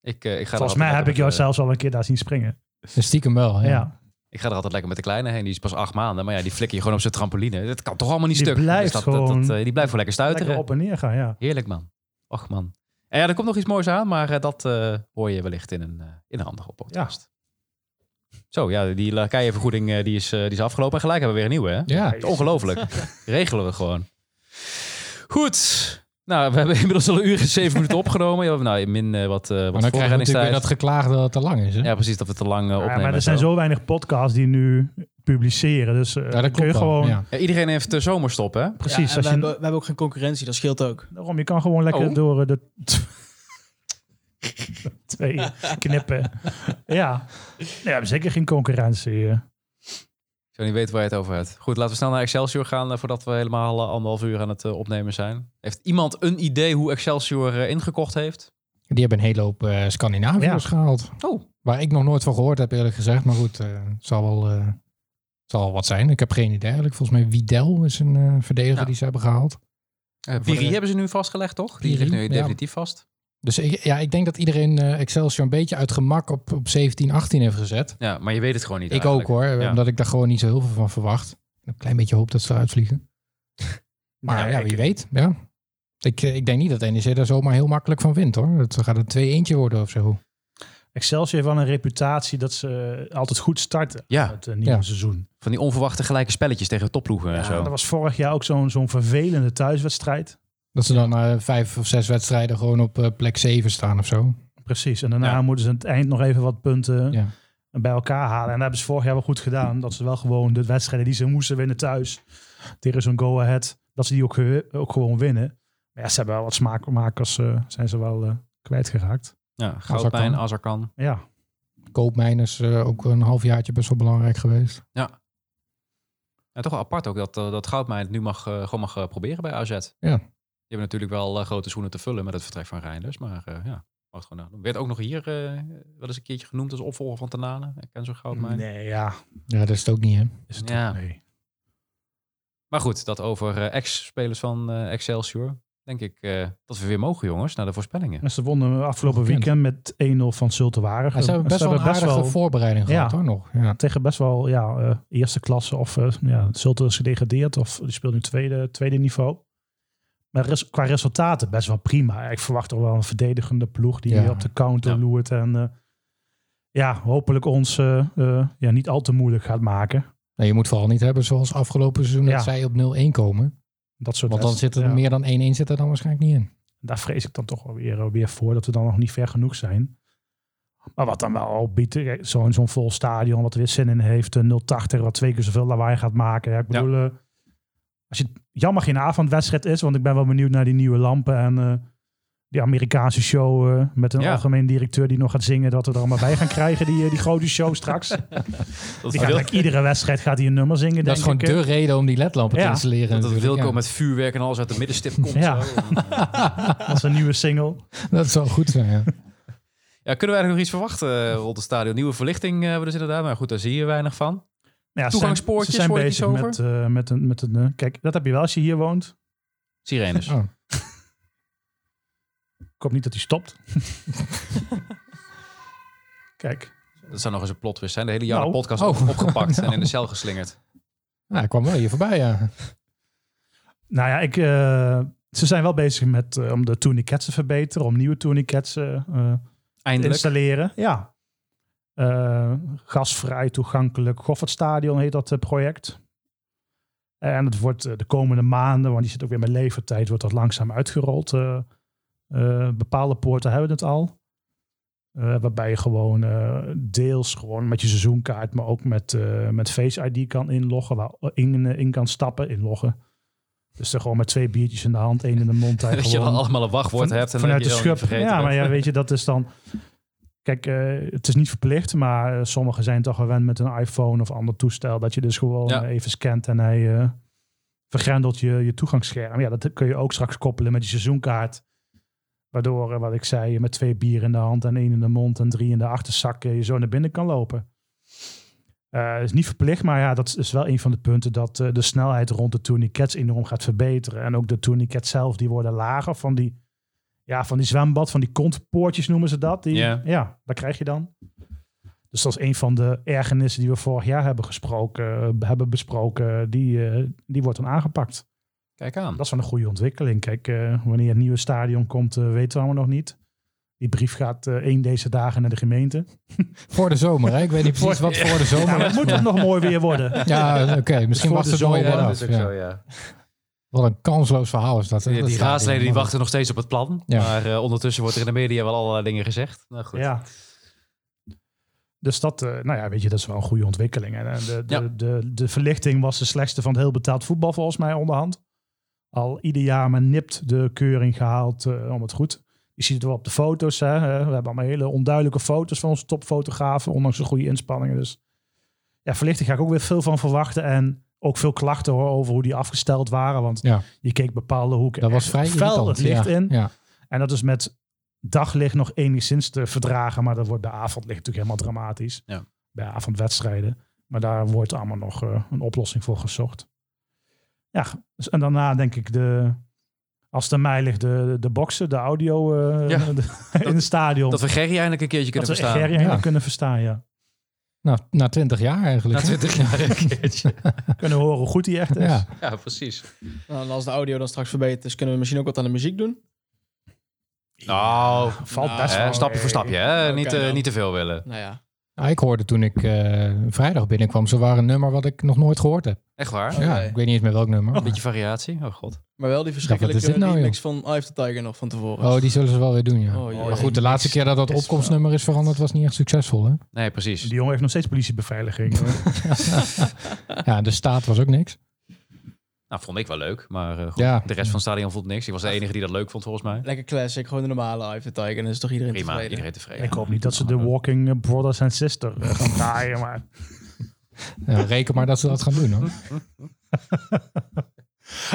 ik, eh, ik ga er Volgens altijd mij lekker heb ik met jou de- zelfs al een keer daar zien springen. Dus Stiekem wel. Ja, Oh Ja. Oh, Ik ga er altijd lekker met de kleine heen. Die is pas acht maanden. Maar ja, die flikker je gewoon op zijn trampoline. Dat kan toch allemaal niet Die stuk. blijft dat- dat- gewoon- dat, eh, die blijft gewoon lekker stuiteren. lekker op en neer gaan, ja. Heerlijk, man. Och, man. En ja, er komt nog iets moois aan. Maar eh, dat eh, hoor je wellicht in een, eh, in een andere podcast. Zo, ja, die lakeienvergoeding eh, die is, eh, die is afgelopen. En gelijk hebben we weer een nieuwe, hè? Ja. Het is Ongelooflijk. (laughs) Regelen we gewoon. Goed. Nou, we hebben (laughs) inmiddels al een uur en zeven minuten opgenomen. Ja, we hebben, nou, min eh, wat, eh, Maar wat dan krijgen we natuurlijk weer voorbereidingstijd. dat geklaag dat het te lang is. Hè? Ja, precies, dat we te lang eh, Ja, opnemen. maar en er zijn zo. zo weinig podcasts die nu publiceren. Dus eh, Ja, dat kun je klopt wel. gewoon... Ja. Ja, iedereen heeft de zomerstop, hè? Ja, en Precies, we, als je, hebben, we hebben ook geen concurrentie, dat scheelt ook. daarom, je kan gewoon lekker Oh. door eh, de... (laughs) Twee knippen. ja. Nee, we hebben zeker geen concurrentie. eh. Ik zou niet weten waar je het over hebt. Goed, laten we snel naar Excelsior gaan eh, voordat we helemaal eh, anderhalf uur aan het eh, opnemen zijn. Heeft iemand een idee hoe Excelsior eh, ingekocht heeft? Die hebben een hele hoop eh, Scandinaviërs Ja. gehaald. Oh. Waar ik nog nooit van gehoord heb, eerlijk gezegd. Maar goed, eh, het zal wel eh, het zal wel wat zijn. Ik heb geen idee eigenlijk. Volgens mij Widel is een eh, verdediger Ja. die ze hebben gehaald. Piri voor de- hebben ze nu vastgelegd, toch? Die Piri, ligt nu ja. definitief vast. Dus ik, ja, ik denk dat iedereen eh, Excelsior een beetje uit gemak op, op 17, 18 heeft gezet. Ja, maar je weet het gewoon niet. ik ook hoor, Ja. omdat ik daar gewoon niet zo heel veel van verwacht. Een klein beetje hoop dat ze eruit vliegen. Maar Nou, ja, ik- wie weet. Ja. Ik, eh, ik denk niet dat NEC daar zomaar heel makkelijk van wint hoor. Het gaat een 2 eentje worden of zo. Excelsior heeft wel een reputatie dat ze eh, altijd goed starten Ja, het eh, nieuwe Ja. seizoen. van die onverwachte gelijke spelletjes tegen topploegen en Ja, zo. dat was vorig jaar ook zo'n zo'n vervelende thuiswedstrijd. Dat ze dan na vijf of zes wedstrijden gewoon op eh, plek 7 staan of zo. Precies. En daarna Ja. moeten ze aan het eind nog even wat punten Ja. bij elkaar halen. En dat hebben ze vorig jaar wel goed gedaan. Dat ze wel gewoon de wedstrijden die ze moesten winnen thuis tegen zo'n go-ahead, dat ze die ook, ge- ook gewoon winnen. Maar ja, ze hebben wel wat smaakmakers, eh, zijn ze wel eh, kwijtgeraakt. Ja, Goudpijn, Azarkan. Azarkan. Ja, Koopmijners eh, ook een halfjaartje best wel belangrijk geweest. En toch wel apart ook dat, eh, dat Goudmijn het nu mag, eh, gewoon mag eh, proberen bij AZ. Ja. Die hebben natuurlijk wel eh, grote schoenen te vullen met het vertrek van Reinders. Maar eh, ja, mag het gewoon aan doen. Werd ook nog hier eh, wel eens een keertje genoemd als opvolger van Tanane. Ik ken zo'n Goudmijn. Nee, ja. Ja, dat is het ook niet hè. Is het Ja. ook, nee. Maar goed, dat over eh, ex-spelers van eh, Excelsior. Denk ik eh, dat we weer mogen, jongens, naar de voorspellingen. En ze wonnen afgelopen weekend met 1-0 van Zultenwaardig. Maar ze hebben best wel een aardige voorbereiding Ja. gehad hoor nog. Ja. tegen best wel ja, eh, eerste klasse of eh, ja, Zulte is gedegradeerd of die speelt nu tweede, tweede niveau. Maar res- qua resultaten best wel prima. Ik verwacht toch wel een verdedigende ploeg die Ja. op de counter Ja. loert. En eh, ja, hopelijk ons eh, eh, ja, niet al te moeilijk gaat maken. Nee, Nou, je moet vooral niet hebben zoals afgelopen seizoen dat Ja. zij op 0-1 komen. Dat soort Want dan rest- zit er ja, meer dan 1-1 zit er dan waarschijnlijk niet in. Daar vrees ik dan toch wel weer, eh, weer voor dat we dan nog niet ver genoeg zijn. Maar wat dan wel al biedt, eh, zo'n zo'n vol stadion wat er weer zin in heeft. eh, 080 wat twee keer zoveel lawaai gaat maken. Ja, ik Ja. bedoel, eh, als je, jammer geen avondwedstrijd is, want ik ben wel benieuwd naar die nieuwe lampen en eh, die Amerikaanse show eh, met een Ja. algemeen directeur die nog gaat zingen dat we er allemaal bij gaan krijgen, die, eh, die grote show straks. Dat Die gaat, like, iedere wedstrijd gaat hij een nummer zingen, Dat denk is gewoon ik. de reden om die ledlampen te Ja. installeren. Dat het natuurlijk, Wilco ja. met vuurwerk en alles uit de middenstip komt. Ja. zo. eh, Als een nieuwe single. (laughs) Dat zou goed zijn, ja. Ja, kunnen we eigenlijk nog iets verwachten eh, rond het stadion? Nieuwe verlichting eh, hebben we dus inderdaad. Maar goed, daar zie je weinig van. Nou Ja, ze Toegangspoortjes, zijn, ze hoor zijn je iets bezig over? met, eh, met een... Met een eh, kijk, dat heb je wel als je hier woont. Sirenes. Oh. Ik hoop niet dat hij (laughs) stopt. Kijk. Dat zou nog eens een plot twist zijn. De hele jaren Nou. podcast Oh. opgepakt en Nou. in de cel geslingerd. Nou, hij kwam wel hier voorbij, ja. Nou ja, ik, eh, ze zijn wel bezig met eh, om de tourniquets te verbeteren. Om nieuwe tourniquets eh, eh, te Eindelijk. installeren. Ja. Eh, gasvrij, toegankelijk. Goffertstadion heet dat eh, project. En het wordt eh, de komende maanden, want die zit ook weer met levertijd, wordt dat langzaam uitgerold. Eh, eh, bepaalde poorten hebben het al. Eh, waarbij je gewoon eh, deels gewoon met je seizoenkaart, maar ook met, eh, met Face ID kan inloggen. Waar in, eh, in kan stappen, inloggen. Dus er gewoon met twee biertjes in de hand, één in de (laughs) mond. (laughs) daar Dat je gewoon- wel allemaal een wachtwoord van- hebt. En vanuit dat de je dan schub. niet vergeten Ja, maar bent. ja, weet je, dat is dan. Kijk, eh, het is niet verplicht, maar eh, sommigen zijn toch gewend met een iPhone of ander toestel. Dat je dus gewoon Ja. eh, even scant en hij eh, vergrendelt je, je toegangsscherm. Ja, dat kun je ook straks koppelen met je seizoenkaart. Waardoor, eh, wat ik zei, je met twee bier in de hand en één in de mond en drie in de achterzak eh, je zo naar binnen kan lopen. Eh is niet verplicht, maar ja, dat is wel een van de punten dat eh, de snelheid rond de tourniquets enorm gaat verbeteren. En ook de tourniquets zelf, die worden lager van die, ja, van die zwembad, van die kontpoortjes noemen ze dat. Die, Ja. Ja, daar krijg je dan. Dus dat is een van de ergernissen die we vorig jaar hebben, gesproken, eh, hebben besproken. Die, eh, die wordt dan aangepakt. Kijk aan. Dat is wel een goede ontwikkeling. Kijk, eh, wanneer het nieuwe stadion komt, eh, weten we allemaal nog niet. Die brief gaat eh één deze dagen naar de gemeente. Voor de zomer, hè. Ik weet niet precies wat voor de zomer Ja, maar is. het moet toch nog mooi weer worden. Ja, oké. Misschien Voor wacht de het mooi zomer, wel dat af. Ja. Wat een kansloos verhaal is dat. hè. Die, Dat die stadion. raadsleden die wachten nog steeds op het plan. Ja. Maar eh, ondertussen wordt er in de media wel allerlei dingen gezegd. Nou goed. Ja. Dus dat, eh, nou ja, weet je, dat is wel een goede ontwikkeling. En eh, de, de, Ja. de, de, verlichting was de slechtste van het heel betaald voetbal volgens mij onderhand. Al ieder jaar maar nipt de keuring gehaald eh, om het goed. Je ziet het wel op de foto's. Hè. Eh, We hebben allemaal hele onduidelijke foto's van onze topfotografen, ondanks de goede inspanningen. Dus ja, verlichting ga ik ook weer veel van verwachten. En ook veel klachten hoor, over hoe die afgesteld waren. Want Ja. je keek bepaalde hoeken Dat was echt vrij fel irritant. het licht ja. in. Ja. En dat is met daglicht nog enigszins te verdragen. Maar dat wordt bij avondlicht natuurlijk helemaal dramatisch. Ja. Bij avondwedstrijden. Maar daar wordt allemaal nog eh, een oplossing voor gezocht. Ja, dus- en daarna denk ik de, Als het aan mij ligt, de, de boxen, de audio eh, Ja. (laughs) de- in het stadion. Dat we Gerry eindelijk een keertje Dat kunnen we verstaan. Gerry helemaal Ja. kunnen verstaan, ja. Nou, na twintig jaar eigenlijk. Na hè? 20 jaar een (laughs) keertje. Kunnen horen hoe goed hij echt is. Ja. Ja, precies. Nou, en als de audio dan straks verbeterd is, kunnen we misschien ook wat aan de muziek doen. Nou, Valt Nou, best hè, wel. stapje voor stapje. Hè? Oké, niet, eh, dan. niet te veel willen. Nou ja. Nou, ik hoorde toen ik eh, vrijdag binnenkwam, ze waren een nummer wat ik nog nooit gehoord heb. Echt waar? Oh, Oké. Ja, ik weet niet eens meer welk nummer. Een beetje variatie. Oh god. Maar wel die wat is verschrikkelijke dit nou, remix van Eye of the Tiger nog van tevoren. Oh, die zullen ze wel weer doen, ja. jee. maar goed, de laatste keer dat dat Oh, is opkomstnummer is veranderd, was niet echt succesvol, hè? Nee, precies. Die jongen heeft nog steeds (laughs) politiebeveiliging. Ja, de staat was ook niks. Nou, vond ik wel leuk. Maar eh, goed. Ja. de rest van het stadion vond niks. Ik was de enige die dat leuk vond, volgens mij. Lekker classic, gewoon de normale Eye of the Tiger. En dan is toch iedereen Prima, tevreden. iedereen tevreden. Ik hoop niet dat ze de Walking Brothers and Sister eh, gaan draaien, maar... Ja, reken maar dat ze dat gaan doen, hoor.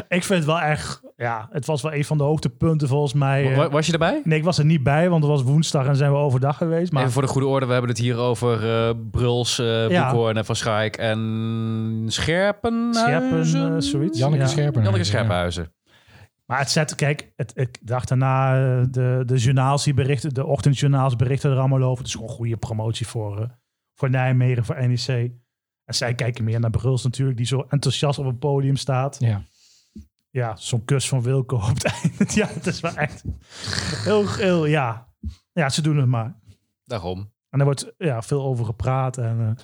Ik vind het wel echt... Ja, het was wel een van de hoogtepunten volgens mij. eh. Wa- Was je erbij? Nee, ik was er niet bij, want het was woensdag en zijn we overdag geweest. Maar Even voor de goede orde, we hebben het hier over eh, Bruls, eh Ja. Boekhoorn en Van Schaik en Scherpenhuizen. Scherpen, eh, zoiets. Janneke Ja. Scherpen. Janneke Scherpenhuizen. Maar het zet, kijk, het, ik dacht daarna, eh, de, de journaals die berichten, de ochtendjournaals berichten er allemaal over. Het is gewoon een goede promotie voor, eh, voor Nijmegen, voor NEC. En zij kijken meer naar Bruls natuurlijk, die zo enthousiast op het podium staat. Ja. Ja, zo'n kus van Wilco op het (laughs) einde. Ja, het is wel echt heel, heel, ja. Ja, ze doen het maar. Daarom. En er wordt ja, veel over gepraat. En, eh,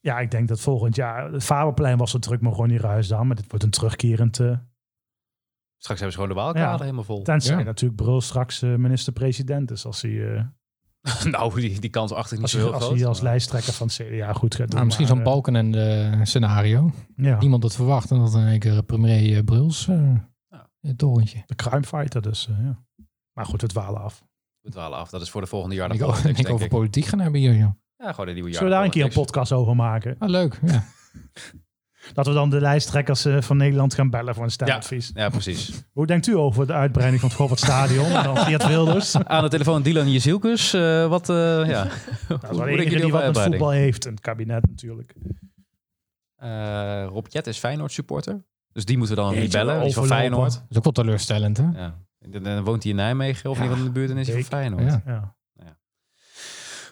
ja, ik denk dat volgend jaar... Het Faberplein was zo druk met Ronnie Ruisdam. Maar dit wordt een terugkerend... eh, Straks hebben ze gewoon de waalkade Ja. helemaal vol. Tenzij Ja. natuurlijk Brul straks eh, minister-president is. Als hij, eh, (laughs) nou, die, die kans achter ik niet als, zo hij, heel als, groot. hij als lijsttrekker van het CDA goed gaat doen. Nou, misschien maar, zo'n eh, balkenende scenario. Ja, Niemand dat verwacht en dat in één keer premier eh, Bruls eh, Ja. het torentje. de crimefighter dus. eh, ja. Maar goed, het dwalen af. We dwalen af. Dat is voor de volgende jaar. Ik de o- politics, ik denk over ik. politiek gaan hebben hier, joh. Ja, gewoon de nieuwe jaar. Zullen we daar een keer een politics. podcast over maken? Ah, leuk. Ja. (laughs) Dat we dan de lijsttrekkers eh, van Nederland gaan bellen voor een stemadvies. Ja, precies. (laughs) Hoe denkt u over de uitbreiding van het Goffert Stadion? En dan Geert Wilders. Dat Aan de telefoon Dylan Jezielkus. eh, wat, eh, ja. (laughs) is wel denk de je die enige die wat met uitbreiding? voetbal heeft. Een kabinet natuurlijk. Eh, Rob Jet is Feyenoord supporter. Dus die moeten we dan niet Jeetje, bellen. Die is van overlopen. Feyenoord. Dat is ook wel teleurstellend, hè? Ja. Dan dan woont hij in Nijmegen of Ja, in ieder geval in de buurt en is hij ik- van Feyenoord. Ja. Ja.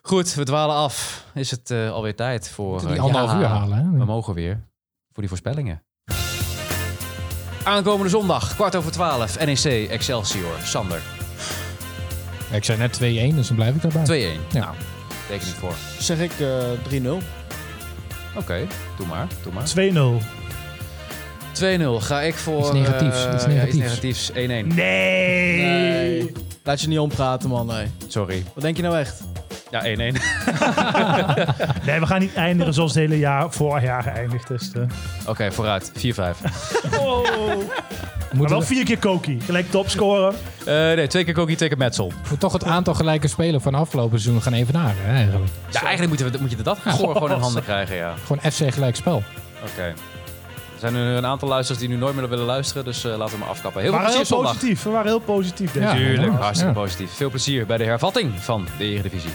Goed, we dwalen af. Is het eh, alweer tijd voor... Die eh, anderhalf ja, uur halen, We hè? mogen weer voor die voorspellingen. Aankomende zondag, kwart over twaalf, NEC Excelsior. Sander, 2-1. Ja, Ik zei net 2-1, dus dan blijf ik daarbij. Ja. Nou, teken ik voor. Zeg ik eh 3-0. Oké, doe maar, doe maar. 2-0. 2-0 ga ik voor... Iets negatiefs, eh, iets ja, negatiefs. negatiefs. 1-1. Nee! Nee. Laat je niet ompraten, man. Nee. Sorry. Wat denk je nou echt? Ja, 1-1. Nee, we gaan niet eindigen zoals het hele jaar vorig jaar geëindigd is. eh. (laughs) Oké, vooruit. Eh, 4-5. Maar Moeten wel we, vier keer Koki. Gelijk topscorer. Eh, nee, twee keer Koki, twee keer Metsel. we toch het aantal gelijke spelen van afgelopen seizoen gaan evenaren, hè, eigenlijk. Ja, eigenlijk moeten we, moet je dat gewoon, gewoon in handen krijgen, ja. Gewoon FC gelijk spel. Oké. Er zijn nu een aantal luisteraars die nu nooit meer willen luisteren, dus eh, laten we maar afkappen. Heel We veel waren plezier heel zondag. positief. We waren heel positief deze Ja. keer. Tuurlijk, Ja. hartstikke Ja. positief. Veel plezier bij de hervatting van de Eredivisie.